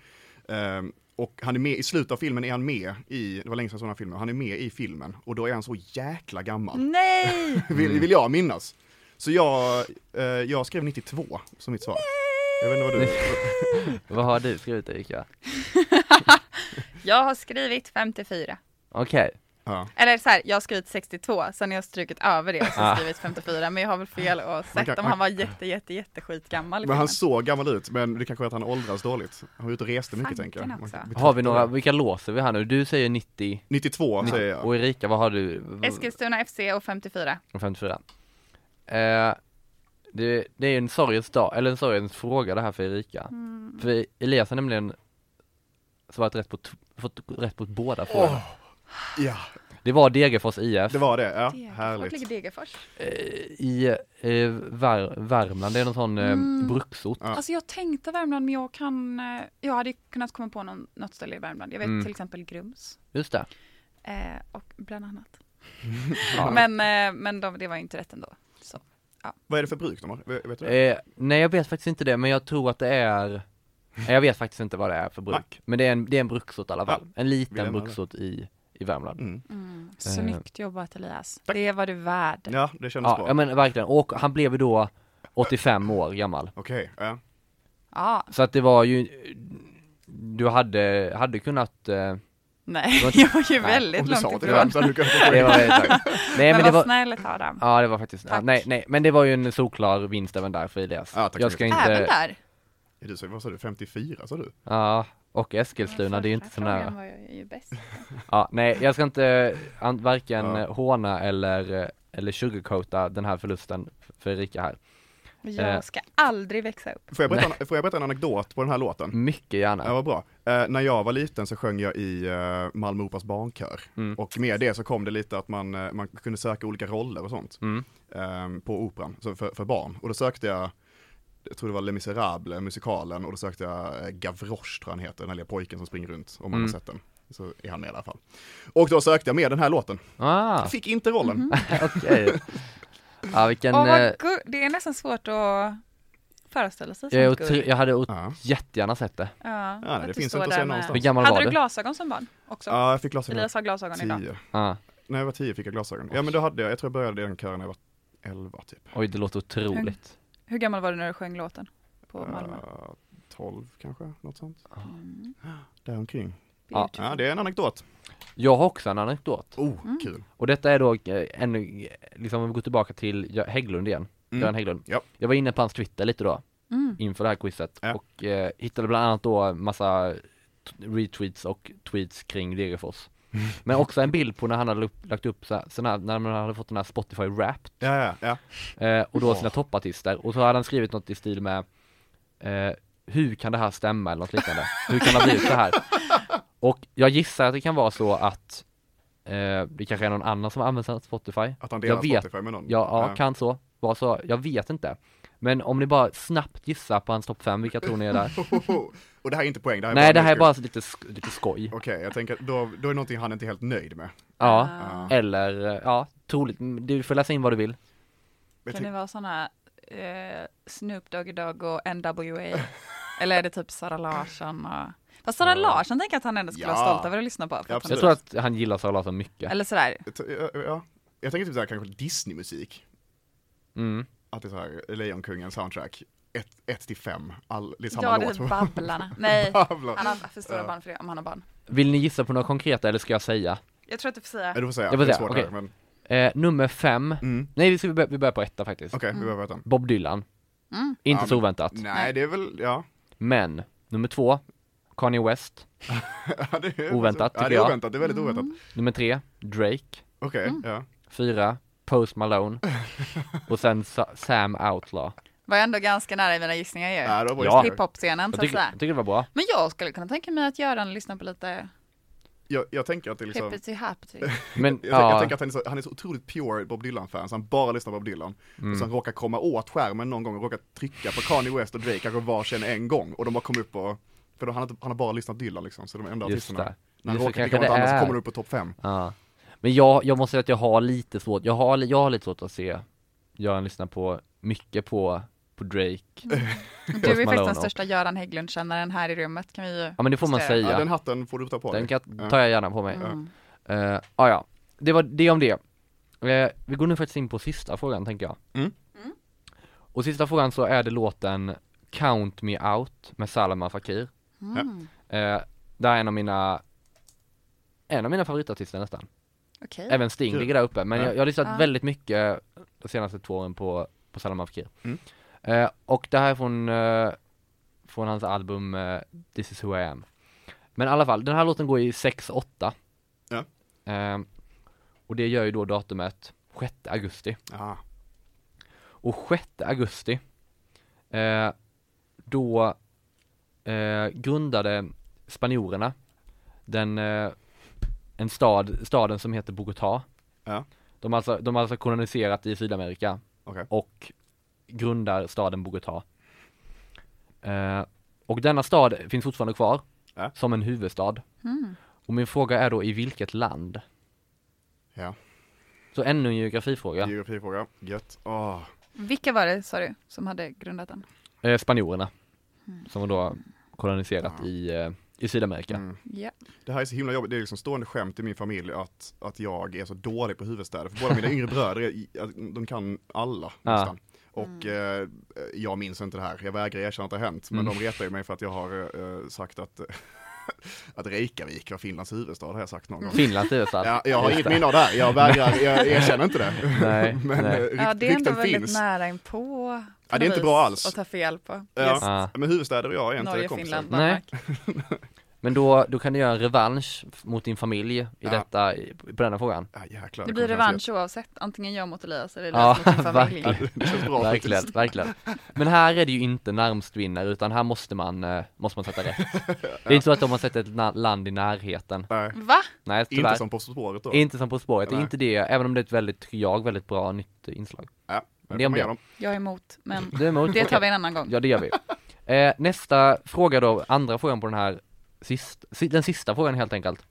[SPEAKER 4] Eh, och han är med, i slutet av filmen är han med i, det var länge sedan jag såg den här filmen, han är med i filmen och då är han så jäkla gammal.
[SPEAKER 5] Mm. Nej!
[SPEAKER 4] Vill, vill jag minnas. Så jag, eh, jag skrev 92 som mitt svar. Jag vet inte vad du...
[SPEAKER 3] Vad har du skrivit Erika?
[SPEAKER 5] Jag har skrivit 54.
[SPEAKER 3] Okej.
[SPEAKER 4] Ja.
[SPEAKER 5] Eller så här, jag har skrivit 62, sen har jag strukit över det och så
[SPEAKER 3] Ah.
[SPEAKER 5] skrivit 54, men jag har väl fel och sett
[SPEAKER 4] kan-
[SPEAKER 5] om
[SPEAKER 4] man-
[SPEAKER 5] han var jätte, jätte, jätte skitgammal. i
[SPEAKER 4] Men han
[SPEAKER 5] filmen.
[SPEAKER 4] såg gammal ut, men det kanske är att han åldras dåligt. Han var ute och reste mycket
[SPEAKER 5] Tanken
[SPEAKER 4] tänker jag. Man-
[SPEAKER 5] också.
[SPEAKER 4] vi
[SPEAKER 3] Har
[SPEAKER 4] tror-
[SPEAKER 3] vi några, vilka låser vi här nu? Du säger 90
[SPEAKER 4] 92 säger jag.
[SPEAKER 3] och Erika vad har du?
[SPEAKER 5] Eskilstuna FC och 54.
[SPEAKER 3] 54. Eh, det, det är en sorgens dag, eller en sorgens fråga det här för Erika. För Elias har nämligen svarat rätt på, t- fått rätt på båda frågorna.
[SPEAKER 4] Ja,
[SPEAKER 3] Det var Degerfors IF
[SPEAKER 4] det var det. Ja,
[SPEAKER 5] Vart ligger
[SPEAKER 4] Ah, härligt.
[SPEAKER 5] Degerfors?
[SPEAKER 3] i eh, Vär, Värmland, det är någon sån eh, bruksort.
[SPEAKER 4] Ja.
[SPEAKER 5] Alltså jag tänkte Värmland, men jag kan, eh, jag hade ju kunnat komma på någon, något ställe i Värmland. Jag vet
[SPEAKER 3] Mm.
[SPEAKER 5] till exempel Grums.
[SPEAKER 3] Just det.
[SPEAKER 5] Eh, och bland annat.
[SPEAKER 3] Ja.
[SPEAKER 5] Men, eh, men de, det var ju inte rätt ändå. Så.
[SPEAKER 4] Vad är det för bruk de har? Vet vet du det?
[SPEAKER 3] Eh, nej jag vet faktiskt inte det, men jag tror att det är Nej, jag vet faktiskt inte vad det är för bruk, men det är en, det är en bruksort i alla fall. En liten
[SPEAKER 4] lämnar det.
[SPEAKER 3] bruksort i, i Värmland.
[SPEAKER 4] Mm.
[SPEAKER 5] Mm.
[SPEAKER 3] Eh.
[SPEAKER 5] Snyggt jobbat Elias.
[SPEAKER 4] Tack.
[SPEAKER 5] Det var du värd.
[SPEAKER 4] Ja, det kändes
[SPEAKER 3] Ja,
[SPEAKER 4] bra.
[SPEAKER 3] ja men verkligen, och han blev ju då 85 år gammal.
[SPEAKER 4] Okej, ja.
[SPEAKER 5] Ja,
[SPEAKER 3] Så att det var ju, du hade, hade kunnat eh,
[SPEAKER 5] nej,
[SPEAKER 3] Det var-
[SPEAKER 5] jag var ju
[SPEAKER 3] Nej,
[SPEAKER 5] väldigt
[SPEAKER 4] Om du
[SPEAKER 5] långt
[SPEAKER 4] sa det
[SPEAKER 5] ifrån.
[SPEAKER 4] där så hade du kunnat
[SPEAKER 3] det var, exakt. Nej
[SPEAKER 5] Men,
[SPEAKER 3] men det
[SPEAKER 5] vad
[SPEAKER 3] var,
[SPEAKER 5] snällt Adam.
[SPEAKER 3] ja det var faktiskt, ja,
[SPEAKER 5] Tack.
[SPEAKER 3] nej nej, men det var ju en solklar vinst även där för Elias.
[SPEAKER 4] Ja, tack
[SPEAKER 3] Jag
[SPEAKER 4] så
[SPEAKER 3] ska
[SPEAKER 4] mycket.
[SPEAKER 5] Även
[SPEAKER 3] inte,
[SPEAKER 5] där.
[SPEAKER 4] Är du så, vad sa du, 54 sa du?
[SPEAKER 3] ja, och Eskilstuna, det är ju inte så
[SPEAKER 5] Första frågan
[SPEAKER 3] nära.
[SPEAKER 5] var jag ju bäst.
[SPEAKER 3] Ja, nej, jag ska inte eh, an, varken
[SPEAKER 4] Ja.
[SPEAKER 3] eh, håna eller, eh, eller sugarcoata den här förlusten f- för Erika här. Eh.
[SPEAKER 5] Jag ska aldrig växa upp.
[SPEAKER 4] Får jag berätta, en, får jag berätta en anekdot på den här låten?
[SPEAKER 3] Mycket
[SPEAKER 4] Ja,
[SPEAKER 3] gärna.
[SPEAKER 4] vad bra. Eh, när jag var liten så sjöng jag i eh, Malmö Operas barnkör.
[SPEAKER 3] Mm.
[SPEAKER 4] Och med det så kom det lite att man, eh, man kunde söka olika roller och sånt
[SPEAKER 3] Mm.
[SPEAKER 4] eh, på operan, så för, för barn. Och då sökte jag, jag tror det var Les Misérables, musikalen, och då sökte jag eh, Gavroche, tror jag han heter, den här lilla pojken som springer runt, om man
[SPEAKER 3] Mm.
[SPEAKER 4] har sett den. Så är han med i alla fall. Och då sökte jag med den här låten.
[SPEAKER 3] Ah,
[SPEAKER 4] Fick inte rollen.
[SPEAKER 3] okej. Ja, vilken,
[SPEAKER 5] Åh, vad
[SPEAKER 3] eh,
[SPEAKER 5] gu- det är nästan svårt att föreställa sig
[SPEAKER 3] jag, är
[SPEAKER 5] sånt
[SPEAKER 3] otro-
[SPEAKER 5] guld.
[SPEAKER 3] jag hade ot-
[SPEAKER 4] Ja.
[SPEAKER 3] jättegärna sett det.
[SPEAKER 5] Ja,
[SPEAKER 4] nej,
[SPEAKER 5] att
[SPEAKER 4] det
[SPEAKER 5] du
[SPEAKER 4] finns inte
[SPEAKER 5] står
[SPEAKER 4] att
[SPEAKER 5] där
[SPEAKER 4] se
[SPEAKER 5] med-
[SPEAKER 4] någonstans.
[SPEAKER 3] Hur gammal
[SPEAKER 5] Hade
[SPEAKER 3] var
[SPEAKER 5] du
[SPEAKER 3] du?
[SPEAKER 5] glasögon som barn också?
[SPEAKER 4] Ja, jag fick glasögon.
[SPEAKER 5] Elias har glasögon idag.
[SPEAKER 4] Tio.
[SPEAKER 3] Ah,
[SPEAKER 4] När jag var tio fick jag glasögon. Ja men då hade jag, jag tror jag började i den kören när jag var elva typ.
[SPEAKER 3] oj, det låter otroligt.
[SPEAKER 5] Hur gammal var du när du sjöng låten på Malmö?
[SPEAKER 4] Eh, 12 kanske, något sånt.
[SPEAKER 5] Mm.
[SPEAKER 4] Däromkring.
[SPEAKER 3] Ja.
[SPEAKER 5] Beautiful.
[SPEAKER 4] Ja, det är en anekdot.
[SPEAKER 3] Jag har också en anekdot.
[SPEAKER 4] Oh,
[SPEAKER 5] Mm.
[SPEAKER 4] kul.
[SPEAKER 3] Och detta är då, eh, en, liksom om vi går tillbaka till Gö- Hägglund igen,
[SPEAKER 4] Mm.
[SPEAKER 3] Göran Hägglund.
[SPEAKER 4] Ja.
[SPEAKER 3] Jag var inne på hans Twitter lite då,
[SPEAKER 5] Mm.
[SPEAKER 3] inför det här quizet.
[SPEAKER 4] Ja.
[SPEAKER 3] Och eh, hittade bland annat då massa t- retweets och tweets kring Degerfors.
[SPEAKER 4] Mm.
[SPEAKER 3] Men också en bild på när han hade upp- lagt upp så här, sån här, när man hade fått den här Spotify Wrapped
[SPEAKER 4] Ja, ja, ja.
[SPEAKER 3] Eh, och då
[SPEAKER 4] Åh.
[SPEAKER 3] sina toppartister. Och så hade han skrivit något i stil med eh, Hur kan det här stämma eller något liknande? Hur kan det ha blivit så här? Och jag gissar att det kan vara så att eh, det kanske är någon annan som har använt sig av Spotify.
[SPEAKER 4] Att han delar
[SPEAKER 3] Jag vet.
[SPEAKER 4] Spotify med någon.
[SPEAKER 3] Ja, ja, kan så. Var så. Jag vet inte. Men om ni bara snabbt gissar på hans topp 5, vilka tror ni är där?
[SPEAKER 4] Hohoho. Och det här är inte poäng, det här är
[SPEAKER 3] Nej, det här är
[SPEAKER 4] nöjesgrej.
[SPEAKER 3] bara lite, sk- lite skoj.
[SPEAKER 4] Okej, jag tänker att då, då är det någonting han inte är helt nöjd med.
[SPEAKER 3] Ja.
[SPEAKER 5] Ah.
[SPEAKER 3] Eller, eh, ja, troligt. Du får läsa in vad du vill.
[SPEAKER 4] Jag
[SPEAKER 5] Kan det
[SPEAKER 4] tänk,
[SPEAKER 5] vara sådana eh, Snoop Doggy Dogg och NWA? Eller är det typ Sara Larsson? Och... Fast Sara Larsson tänker jag att han ändå skulle vara
[SPEAKER 4] Ja.
[SPEAKER 5] stolt över att lyssna på. för att
[SPEAKER 4] Ja,
[SPEAKER 5] han-
[SPEAKER 3] Jag
[SPEAKER 4] absolut.
[SPEAKER 3] tror att han gillar Sara Larsson mycket.
[SPEAKER 5] Eller sådär,
[SPEAKER 4] t- ja, ja. jag tänker typ såhär kanske Disney-musik.
[SPEAKER 3] Mm.
[SPEAKER 4] Att det är såhär Lejonkungen soundtrack. 1 till 5, all, det är samma
[SPEAKER 5] ja det
[SPEAKER 4] låt.
[SPEAKER 5] är typ Babblarna. Nej,
[SPEAKER 4] Babblar.
[SPEAKER 5] han har för stora
[SPEAKER 4] Ja.
[SPEAKER 5] barn för det, om han har barn.
[SPEAKER 3] Vill ni gissa på något konkret eller ska jag säga?
[SPEAKER 5] Jag tror att du får säga.
[SPEAKER 4] Ja, du får säga,
[SPEAKER 3] Jag får
[SPEAKER 4] det är
[SPEAKER 3] säga,
[SPEAKER 4] svårt
[SPEAKER 3] okej.
[SPEAKER 4] där, men
[SPEAKER 3] Eh, nummer fem.
[SPEAKER 4] mm.
[SPEAKER 3] Nej, vi, ska, vi, bör, vi börjar på etta faktiskt.
[SPEAKER 4] okej, vi behöver veta.
[SPEAKER 3] Bob Dylan.
[SPEAKER 5] Mm.
[SPEAKER 3] Inte
[SPEAKER 4] Ja,
[SPEAKER 3] så
[SPEAKER 4] men-
[SPEAKER 3] oväntat.
[SPEAKER 4] Nej, det är väl, ja.
[SPEAKER 3] Men, nummer två, Kanye West.
[SPEAKER 4] Ja, det är,
[SPEAKER 3] Oväntat,
[SPEAKER 4] ja,
[SPEAKER 3] tycker
[SPEAKER 4] det är
[SPEAKER 3] jag.
[SPEAKER 4] oväntat, det är väldigt
[SPEAKER 5] Mm.
[SPEAKER 4] oväntat.
[SPEAKER 3] Nummer tre, Drake.
[SPEAKER 4] Okej, ja.
[SPEAKER 3] Fyra, Post Malone. Och sen Sa- Sam Outlaw.
[SPEAKER 5] Var jag ändå ganska nära i mina gissningar ju.
[SPEAKER 4] Ja, Äh, det var bra
[SPEAKER 3] Ja.
[SPEAKER 4] gissningar.
[SPEAKER 5] Hiphop-scenen,
[SPEAKER 3] Jag
[SPEAKER 5] så att
[SPEAKER 3] tycker,
[SPEAKER 5] säga.
[SPEAKER 3] jag tycker det var bra.
[SPEAKER 5] Men jag skulle kunna tänka mig att Göran lyssnar på lite
[SPEAKER 4] jag, jag tänker att det är liksom,
[SPEAKER 5] hippity happity.
[SPEAKER 3] Men,
[SPEAKER 4] jag, tänker- jag
[SPEAKER 3] ja,
[SPEAKER 4] tänker att han är, så, han är så otroligt pure Bob Dylan-fan, så han bara lyssnar på Bob Dylan.
[SPEAKER 3] Mm.
[SPEAKER 4] Och sen råkar komma åt skärmen någon gång och råkar trycka på Kanye West och Drake kanske varsin en gång. Och de har kommit upp och, för då, han, har inte- han har bara lyssnat Dylan liksom, så de enda
[SPEAKER 3] Just
[SPEAKER 4] artisterna.
[SPEAKER 3] det.
[SPEAKER 4] När han
[SPEAKER 3] Just det, kanske
[SPEAKER 4] råkar klicka på något
[SPEAKER 3] det
[SPEAKER 4] annat så
[SPEAKER 3] är.
[SPEAKER 4] kommer de upp på topp fem.
[SPEAKER 3] ja. Men jag, jag måste säga att jag har lite svårt, jag har, jag har lite svårt att se Göran lyssna på, mycket på, på Drake.
[SPEAKER 5] Du är faktiskt
[SPEAKER 3] Malone
[SPEAKER 5] den
[SPEAKER 3] och-
[SPEAKER 5] största Göran Hägglund-kännaren här i rummet kan vi ju
[SPEAKER 3] Ja men det får man
[SPEAKER 5] Just det.
[SPEAKER 4] Ja. den
[SPEAKER 3] säga.
[SPEAKER 4] hatten får du ta på
[SPEAKER 3] Den
[SPEAKER 4] dig.
[SPEAKER 3] kan,
[SPEAKER 4] Ja.
[SPEAKER 3] tar jag gärna på mig.
[SPEAKER 5] Mm.
[SPEAKER 3] Uh, ah, ja, det var det om det. Eh, vi går nu faktiskt in på sista frågan tänker jag.
[SPEAKER 4] Mm.
[SPEAKER 3] Och sista frågan så är det låten Count Me Out med Salman Fakir.
[SPEAKER 5] Mm.
[SPEAKER 3] Eh, det här är en av mina en av mina favoritartister nästan.
[SPEAKER 5] Okej.
[SPEAKER 3] Även Sting
[SPEAKER 4] Kul.
[SPEAKER 3] ligger där uppe, men
[SPEAKER 4] Ja.
[SPEAKER 3] jag, jag har lyssnat
[SPEAKER 5] Ja.
[SPEAKER 3] väldigt mycket de senaste två åren på, på Salman Fakir.
[SPEAKER 4] Mm.
[SPEAKER 3] Eh, och det här är från, eh, från hans album eh, This is who I am. Men i alla fall, den här låten går i 6-8.
[SPEAKER 4] Ja.
[SPEAKER 3] Eh, och det gör ju då datumet 6 augusti.
[SPEAKER 4] Ja.
[SPEAKER 3] Och 6 augusti, eh, då eh, grundade spanjorerna den, eh, en stad, staden som heter Bogotá.
[SPEAKER 4] Ja.
[SPEAKER 3] De har alltså, de har alltså koloniserat i Sydamerika
[SPEAKER 4] Okej.
[SPEAKER 3] och grundar staden Bogotá. Eh, och denna stad finns fortfarande kvar
[SPEAKER 4] Ja.
[SPEAKER 3] som en huvudstad.
[SPEAKER 5] Mm.
[SPEAKER 3] Och min fråga är då i vilket land?
[SPEAKER 4] Ja.
[SPEAKER 3] Så ännu en geografifråga.
[SPEAKER 4] Geografifråga, gött. Åh.
[SPEAKER 5] Vilka var det, sa du, som hade grundat den? Mm.
[SPEAKER 3] Eh, spanjorerna. Som har då koloniserat i eh, i Sydamerika.
[SPEAKER 4] Mm.
[SPEAKER 5] Ja.
[SPEAKER 4] Det här är så himla jobbigt, det är liksom stående skämt i min familj att, att jag är så dålig på huvudstäder. För båda mina yngre bröder, är, i- de kan alla
[SPEAKER 3] Ja.
[SPEAKER 4] nästan. Och
[SPEAKER 5] Mm.
[SPEAKER 4] eh, jag minns inte det här, jag vägrar erkänna att det har hänt.
[SPEAKER 3] Mm.
[SPEAKER 4] Men de retar ju mig för att jag har eh, sagt att, att Reykjavik var Finlands huvudstad, har jag sagt någon gång.
[SPEAKER 3] Finlands huvudstad.
[SPEAKER 4] Ja, jag har
[SPEAKER 3] Just
[SPEAKER 4] inget
[SPEAKER 3] det.
[SPEAKER 4] minne av det här, jag vägrar, jag erkänner inte det.
[SPEAKER 3] Nej,
[SPEAKER 4] Men
[SPEAKER 3] nej.
[SPEAKER 4] eh, rykt,
[SPEAKER 5] ja, det är ändå
[SPEAKER 4] rykten
[SPEAKER 5] väldigt
[SPEAKER 4] finns.
[SPEAKER 5] nära inpå. på
[SPEAKER 4] Ja, det är
[SPEAKER 5] något
[SPEAKER 4] inte bra
[SPEAKER 5] vis
[SPEAKER 4] alls.
[SPEAKER 5] Att ta fel på.
[SPEAKER 4] Ja.
[SPEAKER 5] Yes.
[SPEAKER 3] Ja.
[SPEAKER 4] Men huvudstäder och jag är inte
[SPEAKER 5] Norge,
[SPEAKER 4] kompisar.
[SPEAKER 5] Finland,
[SPEAKER 3] Nej.
[SPEAKER 5] Danmark.
[SPEAKER 3] Men då, då kan du göra en revansch mot din familj i
[SPEAKER 4] Ja.
[SPEAKER 3] detta, i- på denna frågan.
[SPEAKER 4] Ja, jäklar,
[SPEAKER 5] Det
[SPEAKER 4] kommer
[SPEAKER 5] blir
[SPEAKER 4] kännas
[SPEAKER 5] revansch oavsett. Antingen jag mot Elias eller
[SPEAKER 3] Ja,
[SPEAKER 5] Elias mot min familj.
[SPEAKER 3] verkligen.
[SPEAKER 4] jätte- Det känns bra
[SPEAKER 3] verkligen,
[SPEAKER 4] faktiskt.
[SPEAKER 3] verkligen. Men här är det ju inte närmst vinner, utan här måste man, eh, måste man sätta rätt. Det är inte så att de har sett ett na- land i närheten.
[SPEAKER 4] Nej,
[SPEAKER 5] Va?
[SPEAKER 3] Nej, tyvärr.
[SPEAKER 4] inte som På spåret då.
[SPEAKER 3] Inte som På spåret, det är
[SPEAKER 4] Nej.
[SPEAKER 3] inte det, även om det är ett väldigt, tycker jag, väldigt bra nytt inslag.
[SPEAKER 4] Ja, men
[SPEAKER 3] Det är om
[SPEAKER 4] kom
[SPEAKER 3] det.
[SPEAKER 4] igen då.
[SPEAKER 5] Jag är emot, men
[SPEAKER 3] Du är emot?
[SPEAKER 5] det
[SPEAKER 3] Okej.
[SPEAKER 5] tar vi en annan gång.
[SPEAKER 3] Ja det gör vi. Eh, nästa fråga då, andra frågan på den här, sist, si- den sista frågan helt enkelt.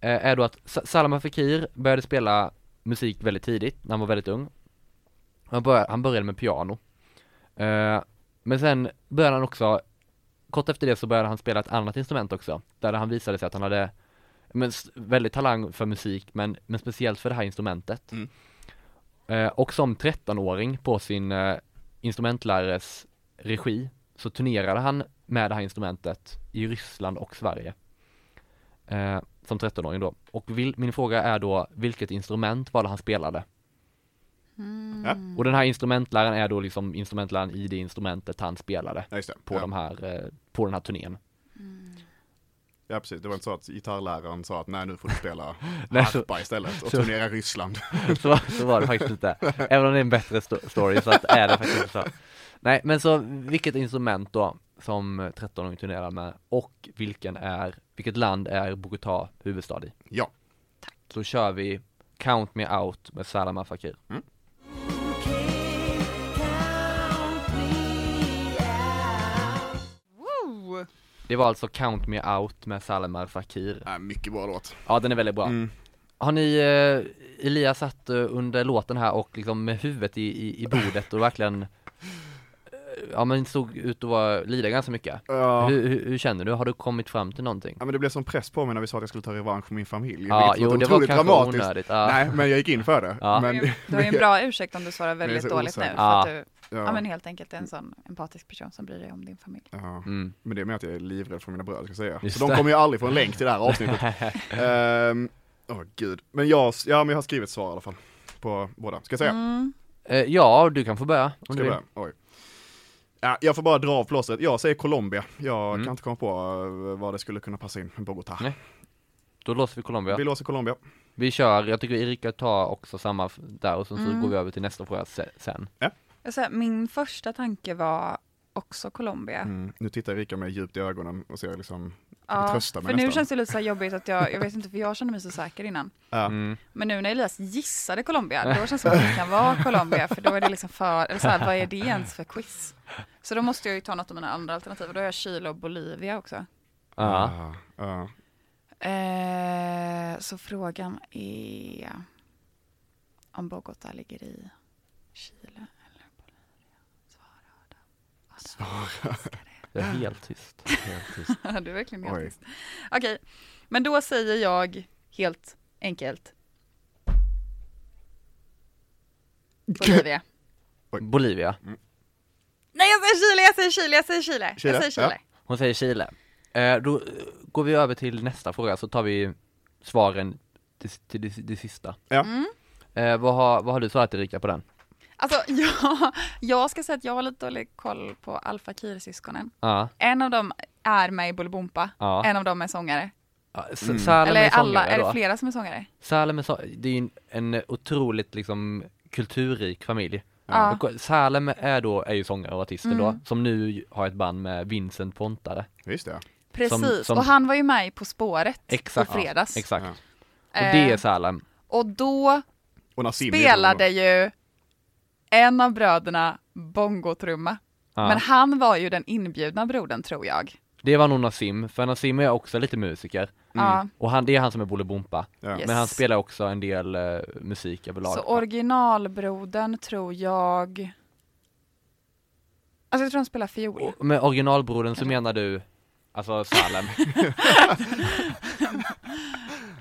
[SPEAKER 3] Eh, är då att Sa- Salman Fakir började spela musik väldigt tidigt, när han var väldigt ung. Han började, han började med piano. Eh, men sen började han också, kort efter det så började han spela ett annat instrument också. Där han visade sig att han hade men, s- väldigt talang för musik, men, men speciellt för det här instrumentet.
[SPEAKER 4] Mm.
[SPEAKER 3] Eh, och som 13-åring på sin eh, instrumentlärares regi så turnerade han med det här instrumentet i Ryssland och Sverige. Eh, som 13-åring då. Och vil, min fråga är då, vilket instrument var det han spelade?
[SPEAKER 4] Ja.
[SPEAKER 3] Och den här instrumentläraren är då liksom instrumentläraren i det instrumentet han spelade
[SPEAKER 4] Ja, just det.
[SPEAKER 3] på,
[SPEAKER 4] ja.
[SPEAKER 3] de här, eh, på den här turnén.
[SPEAKER 4] Ja precis, det var inte så att gitarrläraren sa att nej nu får du spela
[SPEAKER 3] Nej, så-
[SPEAKER 4] harpa istället och
[SPEAKER 3] så-
[SPEAKER 4] turnera Ryssland.
[SPEAKER 3] så, så var det faktiskt inte. Även om det är en bättre sto- story så att, är det faktiskt inte så. Nej, men så vilket instrument då som 13-åring turnerar med och vilken är, vilket land är Bogotá huvudstad i?
[SPEAKER 4] Ja,
[SPEAKER 3] Så kör vi Count Me Out med Salama Fakir.
[SPEAKER 4] Mm.
[SPEAKER 5] Woo!
[SPEAKER 3] Det var alltså Count Me Out med Salama Fakir.
[SPEAKER 4] äh, mycket bra låt.
[SPEAKER 3] Ja, den är väldigt bra.
[SPEAKER 4] Mm.
[SPEAKER 3] Har ni, eh, Elias satt eh, under låten här och liksom med huvudet i, i, i bordet och verkligen eh, Ja men såg ut att vara, lida ganska mycket.
[SPEAKER 4] Ja.
[SPEAKER 3] Hur, hur, hur känner du? Har du kommit fram till någonting?
[SPEAKER 4] ja men det blev som press på mig när vi sa att jag skulle ta revansch på min familj.
[SPEAKER 3] Ja,
[SPEAKER 4] vilket
[SPEAKER 3] jo
[SPEAKER 4] låter
[SPEAKER 3] det var
[SPEAKER 4] otroligt
[SPEAKER 3] kanske
[SPEAKER 4] dramatiskt.
[SPEAKER 3] onödigt. Ja.
[SPEAKER 4] Nej, men jag gick in för det.
[SPEAKER 3] Ja.
[SPEAKER 4] Men,
[SPEAKER 5] Du har ju en bra ursäkt om du svarar
[SPEAKER 4] är
[SPEAKER 5] väldigt
[SPEAKER 4] så
[SPEAKER 5] dåligt nu.
[SPEAKER 4] osäker.
[SPEAKER 5] För att
[SPEAKER 3] Ja.
[SPEAKER 5] du, ja.
[SPEAKER 4] ja,
[SPEAKER 5] men helt enkelt är en sån empatisk person som bryr dig om din familj.
[SPEAKER 4] ja.
[SPEAKER 3] Mm.
[SPEAKER 4] Men det är med att jag är livrädd för mina bröder ska jag säga.
[SPEAKER 3] Just
[SPEAKER 4] så
[SPEAKER 3] det.
[SPEAKER 4] de kommer ju aldrig få en länk till det här avsnittet. Ehm, Åh gud. Men jag, ja men jag har skrivit svar i alla fall. På båda. Ska jag säga?
[SPEAKER 5] Mm.
[SPEAKER 3] Eh, ja, du kan få börja. Om
[SPEAKER 4] Ska
[SPEAKER 3] du
[SPEAKER 4] jag
[SPEAKER 3] vill.
[SPEAKER 4] börja? Oj. Ja, jag får bara dra av plåstret. Jag säger Colombia. Jag
[SPEAKER 3] Mm.
[SPEAKER 4] kan inte komma på eh, vad det skulle kunna passa in. Bogotá.
[SPEAKER 3] Nej. Då låser vi Colombia.
[SPEAKER 4] Vi låser Colombia.
[SPEAKER 3] Vi kör, jag tycker Erika tar också samma f- där och sen så
[SPEAKER 5] Mm.
[SPEAKER 3] går vi över till nästa fråga se- sen.
[SPEAKER 5] Jag säger, min första tanke var också Colombia.
[SPEAKER 4] Mm. Nu tittar Erika mig djupt i ögonen och ser liksom,
[SPEAKER 5] Ja,
[SPEAKER 4] trösta mig
[SPEAKER 5] för nu
[SPEAKER 4] nästan.
[SPEAKER 5] känns det lite så här jobbigt att jag, jag vet inte för jag kände mig så säker innan.
[SPEAKER 4] Ja.
[SPEAKER 3] Mm.
[SPEAKER 5] Men nu när Elias gissade Colombia, då känns det som att det kan vara Colombia, för då är det liksom för, eller så här, vad är det ens för quiz? Så då måste jag ju ta något av mina andra alternativ, och då har jag Chile och Bolivia också.
[SPEAKER 3] Ja.
[SPEAKER 4] Ah, ah.
[SPEAKER 5] Eh, så frågan är om Bogotá ligger i Chile.
[SPEAKER 3] Det är helt tyst.
[SPEAKER 5] du är verkligen helt
[SPEAKER 4] Oj.
[SPEAKER 5] tyst. Okej, men då säger jag helt enkelt Bolivia.
[SPEAKER 3] Bolivia.
[SPEAKER 4] Mm.
[SPEAKER 5] Nej, jag säger Chile, jag säger Chile, jag säger Chile.
[SPEAKER 4] Chile,
[SPEAKER 5] Jag säger Chile.
[SPEAKER 3] Hon säger Chile. Eh, då eh, går vi över till nästa fråga så tar vi svaren till, till det, det sista.
[SPEAKER 4] Ja.
[SPEAKER 5] Mm.
[SPEAKER 3] Eh, vad, har, vad har du svarat Erika på den?
[SPEAKER 5] Alltså, jag, jag ska säga att jag har lite dålig koll på Alfa Kir-syskonen.
[SPEAKER 3] Ja.
[SPEAKER 5] En av dem är med i Bolibompa,
[SPEAKER 3] Ja.
[SPEAKER 5] en av dem är sångare.
[SPEAKER 3] Ja,
[SPEAKER 4] Mm.
[SPEAKER 3] S- Salem
[SPEAKER 5] Eller
[SPEAKER 3] är
[SPEAKER 5] alla,
[SPEAKER 3] sångare
[SPEAKER 5] är
[SPEAKER 3] då.
[SPEAKER 5] det flera som är sångare?
[SPEAKER 3] Salem är så, det är ju en, en otroligt liksom kulturrik familj.
[SPEAKER 5] Ja. Mm.
[SPEAKER 3] Och Salem är då, är ju sångare och artisten då, som nu har ett band med Vincent Pontare.
[SPEAKER 4] Just det.
[SPEAKER 5] Precis,
[SPEAKER 3] som-
[SPEAKER 5] och han var ju med i På spåret
[SPEAKER 3] Exakt.
[SPEAKER 5] på fredags.
[SPEAKER 3] Ja, exakt.
[SPEAKER 4] Ja.
[SPEAKER 3] Och
[SPEAKER 5] Eh,
[SPEAKER 3] det är Salem.
[SPEAKER 5] och då
[SPEAKER 4] Och Nassim
[SPEAKER 5] spelade
[SPEAKER 4] är
[SPEAKER 5] ju en av bröderna bongotrumma.
[SPEAKER 3] Ja.
[SPEAKER 5] Men han var ju den inbjudna brodern tror jag.
[SPEAKER 3] Det var nog Nassim, för Nassim är också lite musiker.
[SPEAKER 5] Ja.
[SPEAKER 3] Och han, det är han som är Bolibompa.
[SPEAKER 4] Ja.
[SPEAKER 5] Yes.
[SPEAKER 3] Mm. Men han spelar också en del eh, musik överlag.
[SPEAKER 5] Så originalbrodern tror jag... Alltså jag tror han spelar fiol.
[SPEAKER 3] Och med originalbrodern så menar du Alltså Salem.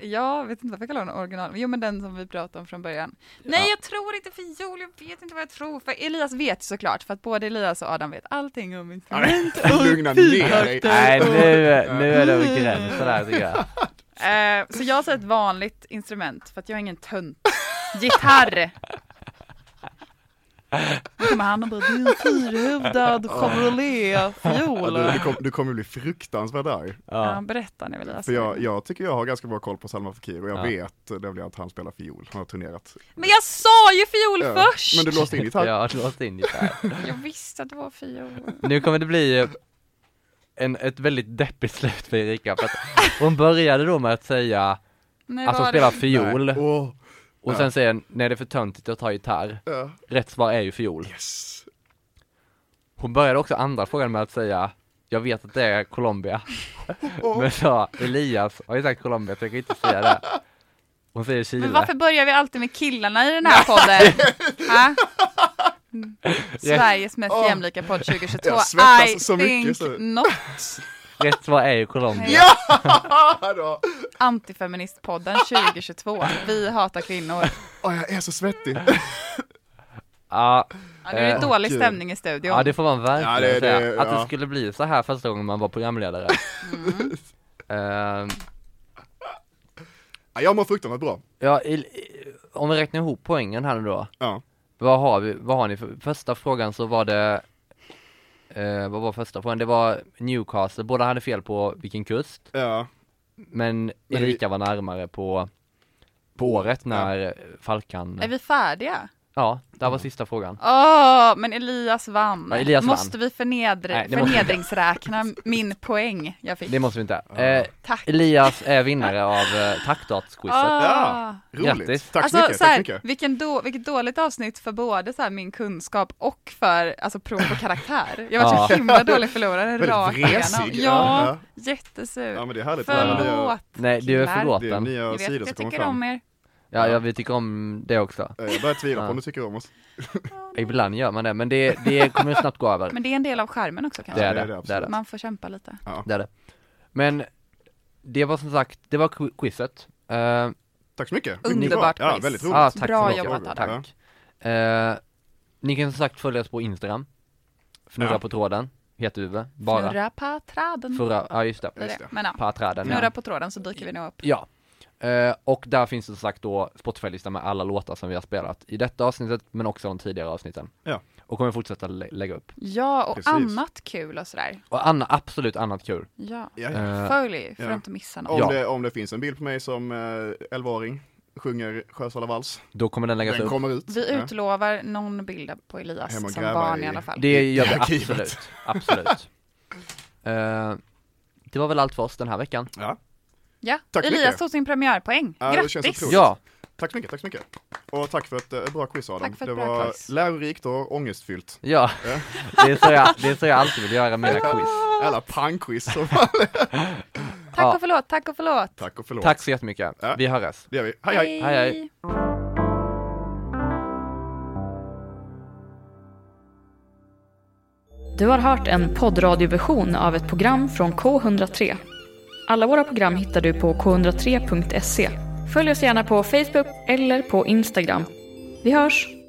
[SPEAKER 5] Jag vet inte varför jag kallar honom original. Jo men den som vi pratade om från början. Nej jag tror inte fiol, jag vet inte vad jag tror. För Elias vet ju såklart, för att både Elias och Adam vet allting om instrument.
[SPEAKER 4] Lugna ner dig.
[SPEAKER 3] Nej nu, nu är det över gränsen där tycker jag.
[SPEAKER 5] Eh, så jag säger ett vanligt instrument, för att jag är ingen tönt. Gitarr! Då kommer han och bara, det är en fyrhövdad
[SPEAKER 4] Ja,
[SPEAKER 5] cabriolet-fiol.
[SPEAKER 4] du, du, kom, du kommer bli fruktansvärt arg.
[SPEAKER 5] Ja, berätta nu Elias.
[SPEAKER 4] För jag, jag tycker jag har ganska bra koll på Salman Fakir och jag
[SPEAKER 3] Alltså. Ja.
[SPEAKER 4] vet eh, nämligen att han spelar fiol, han har turnerat.
[SPEAKER 5] Men jag sa ju fiol
[SPEAKER 4] Ja,
[SPEAKER 5] först!
[SPEAKER 4] Men du låste in gitarr.
[SPEAKER 3] Jag har låst in gitarr.
[SPEAKER 5] Jag visste att det var fiol.
[SPEAKER 3] Nu kommer det bli eh, en, ett väldigt deppigt slut för Erika för att hon började då med att säga
[SPEAKER 5] Nej,
[SPEAKER 4] Alltså,
[SPEAKER 3] att hon
[SPEAKER 5] vad var
[SPEAKER 3] spelar
[SPEAKER 5] det?
[SPEAKER 3] fiol
[SPEAKER 4] Nej. Åh,
[SPEAKER 3] och sen säger hon, nej det är för töntigt att ta gitarr.
[SPEAKER 4] ja.
[SPEAKER 3] Rätt svar är ju fiol.
[SPEAKER 4] Yes.
[SPEAKER 3] Hon började också andra frågan med att säga jag vet att det är Colombia.
[SPEAKER 4] Oh.
[SPEAKER 3] Men sa Elias har ju sagt Colombia så jag kan inte säga det. Hon säger Chile.
[SPEAKER 5] Men varför börjar vi alltid med killarna i den här podden? Ha? Mm. Sveriges mest
[SPEAKER 4] Åh.
[SPEAKER 5] jämlika podd 2022.
[SPEAKER 4] Jag svettas
[SPEAKER 5] I
[SPEAKER 4] så mycket,
[SPEAKER 5] think
[SPEAKER 4] så-
[SPEAKER 5] not.
[SPEAKER 3] Rätt svar är ju Colombia.
[SPEAKER 4] Ah, då.
[SPEAKER 5] Antifeministpodden 2022. Vi hatar kvinnor.
[SPEAKER 4] Åh, Ah, jag är så svettig.
[SPEAKER 3] Ja,
[SPEAKER 5] Ja, nu är det
[SPEAKER 3] Eh,
[SPEAKER 5] dålig
[SPEAKER 4] gud.
[SPEAKER 5] stämning i studion.
[SPEAKER 3] ja det får man verkligen
[SPEAKER 4] Ja, det- det-
[SPEAKER 3] säga. Att det
[SPEAKER 4] ja.
[SPEAKER 3] skulle bli så här första gången man var programledare.
[SPEAKER 5] Mm.
[SPEAKER 3] Ehm,
[SPEAKER 4] Ja, Ah, jag mår fruktansvärt bra.
[SPEAKER 3] ja, il- i- om vi räknar ihop poängen här nu då.
[SPEAKER 4] Ja.
[SPEAKER 3] Vad har vi, vad har ni för, första frågan så var det eh, vad var första frågan? Det var Newcastle, båda hade fel på vilken kust.
[SPEAKER 4] Ja.
[SPEAKER 3] Men
[SPEAKER 4] Men
[SPEAKER 3] Erika var närmare på, på året när Falkan,
[SPEAKER 5] Är vi färdiga?
[SPEAKER 3] ja, där var sista frågan.
[SPEAKER 5] Åh, men Elias vann.
[SPEAKER 3] Ja, Elias vann.
[SPEAKER 5] måste vi förnedre-
[SPEAKER 3] Nej, det måste vi inte.
[SPEAKER 5] förnedringsräkna min poäng jag fick?
[SPEAKER 3] Det måste vi inte. Eh,
[SPEAKER 5] Tack.
[SPEAKER 3] Elias är vinnare av eh, taktartsquizet.
[SPEAKER 5] Åh.
[SPEAKER 4] ja. Roligt.
[SPEAKER 3] Grattis.
[SPEAKER 4] Tack så
[SPEAKER 5] Ah. alltså,
[SPEAKER 4] mycket.
[SPEAKER 5] så här,
[SPEAKER 4] Tack så mycket.
[SPEAKER 5] Vilken då, vilket dåligt avsnitt för både så här, min kunskap och för alltså, prov på karaktär. Jag var så
[SPEAKER 3] Ja.
[SPEAKER 5] himla dålig förlorare
[SPEAKER 4] Väldigt
[SPEAKER 5] rakt igenom.
[SPEAKER 4] vresig.
[SPEAKER 5] Ja,
[SPEAKER 4] Ja.
[SPEAKER 5] jättesur.
[SPEAKER 4] Ja, men det är härligt. Det är nya-
[SPEAKER 5] Förlåt.
[SPEAKER 3] Nej, du är
[SPEAKER 5] killar.
[SPEAKER 4] Det är
[SPEAKER 3] förlåten.
[SPEAKER 4] nya
[SPEAKER 5] Ni vet
[SPEAKER 4] sidor som
[SPEAKER 5] att jag
[SPEAKER 4] kommer
[SPEAKER 5] tycker om
[SPEAKER 4] fram.
[SPEAKER 5] er.
[SPEAKER 3] Ja, ja, vi tycker om det också.
[SPEAKER 4] Eh, Jag börjar tvivla
[SPEAKER 3] Ja.
[SPEAKER 4] på om du tycker om oss.
[SPEAKER 3] Ibland gör man det, men det, det kommer snabbt gå över.
[SPEAKER 5] Men det är en del av skärmen också
[SPEAKER 3] Det
[SPEAKER 5] kanske.
[SPEAKER 3] är
[SPEAKER 4] det är
[SPEAKER 3] det,
[SPEAKER 4] det
[SPEAKER 3] det är det.
[SPEAKER 5] Man får kämpa lite.
[SPEAKER 3] Det är det. Men det var som sagt, det var qu- quizet. Eh,
[SPEAKER 4] Tack så mycket.
[SPEAKER 5] Underbart
[SPEAKER 4] Ja,
[SPEAKER 5] quiz.
[SPEAKER 4] väldigt roligt.
[SPEAKER 3] Ja, tack
[SPEAKER 5] Bra
[SPEAKER 3] så mycket.
[SPEAKER 5] jobbat,
[SPEAKER 4] Adam.
[SPEAKER 3] tack. Eh, ni kan som sagt följa oss på Instagram. Fnurra
[SPEAKER 4] Ja.
[SPEAKER 3] på tråden, heter vi bara.
[SPEAKER 5] Fnurra på träden.
[SPEAKER 3] Furra, ja just det.
[SPEAKER 5] Det är det.
[SPEAKER 4] det.
[SPEAKER 5] Men ja,
[SPEAKER 3] På träden.
[SPEAKER 5] fnurra
[SPEAKER 3] ja.
[SPEAKER 5] på tråden så dyker vi nog upp.
[SPEAKER 3] Ja. Eh, och där finns som sagt då Spotify-listan med alla låtar som vi har spelat i detta avsnittet, men också de tidigare avsnitten.
[SPEAKER 4] Ja.
[SPEAKER 3] Och kommer fortsätta lä- lägga upp.
[SPEAKER 5] Ja, och
[SPEAKER 4] Precis.
[SPEAKER 5] annat kul och sådär.
[SPEAKER 3] Och anna, absolut annat kul.
[SPEAKER 5] Ja.
[SPEAKER 4] Ja, ja.
[SPEAKER 3] Eh,
[SPEAKER 5] Följ för
[SPEAKER 4] Ja.
[SPEAKER 5] att inte missa något.
[SPEAKER 4] Om,
[SPEAKER 3] Ja.
[SPEAKER 4] det, om det finns en bild på mig som eh, 11-åring sjunger Sjösala vals,
[SPEAKER 3] då kommer den läggas
[SPEAKER 4] den
[SPEAKER 3] upp.
[SPEAKER 4] kommer ut.
[SPEAKER 5] Vi
[SPEAKER 4] Ja.
[SPEAKER 5] utlovar någon bild på Elias
[SPEAKER 4] Hem och
[SPEAKER 5] som
[SPEAKER 4] gräva
[SPEAKER 5] barn i
[SPEAKER 4] i-
[SPEAKER 5] alla fall.
[SPEAKER 3] Det gör
[SPEAKER 4] i
[SPEAKER 3] vi
[SPEAKER 4] arkivet.
[SPEAKER 3] absolut. Absolut. Eh, det var väl allt för oss den här veckan.
[SPEAKER 4] Ja.
[SPEAKER 5] Ja,
[SPEAKER 4] Tack så
[SPEAKER 5] Elias
[SPEAKER 4] mycket.
[SPEAKER 5] tog sin premiärpoäng.
[SPEAKER 4] Ja, det känns
[SPEAKER 5] Grattis!
[SPEAKER 4] otroligt.
[SPEAKER 3] Ja,
[SPEAKER 4] Tack så mycket, tack så mycket. Och tack för ett eh, bra quiz Adam.
[SPEAKER 5] Tack för ett
[SPEAKER 4] det
[SPEAKER 5] bra
[SPEAKER 4] var
[SPEAKER 5] quiz.
[SPEAKER 4] lärorikt och ångestfyllt.
[SPEAKER 3] ja. Det är så jag, det är så jag alltid vill göra mina quiz.
[SPEAKER 4] Alla pangquiz. som-
[SPEAKER 5] Tack och förlåt, tack och förlåt.
[SPEAKER 4] tack och förlåt.
[SPEAKER 3] Tack så jättemycket.
[SPEAKER 4] Ja.
[SPEAKER 3] Vi hörs.
[SPEAKER 4] Det gör vi. Hej hej.
[SPEAKER 3] Hej, hej.
[SPEAKER 1] Du har hört en poddradioversion av ett program från K103. Alla våra program hittar du på k103.se. Följ oss gärna på Facebook eller på Instagram. Vi hörs!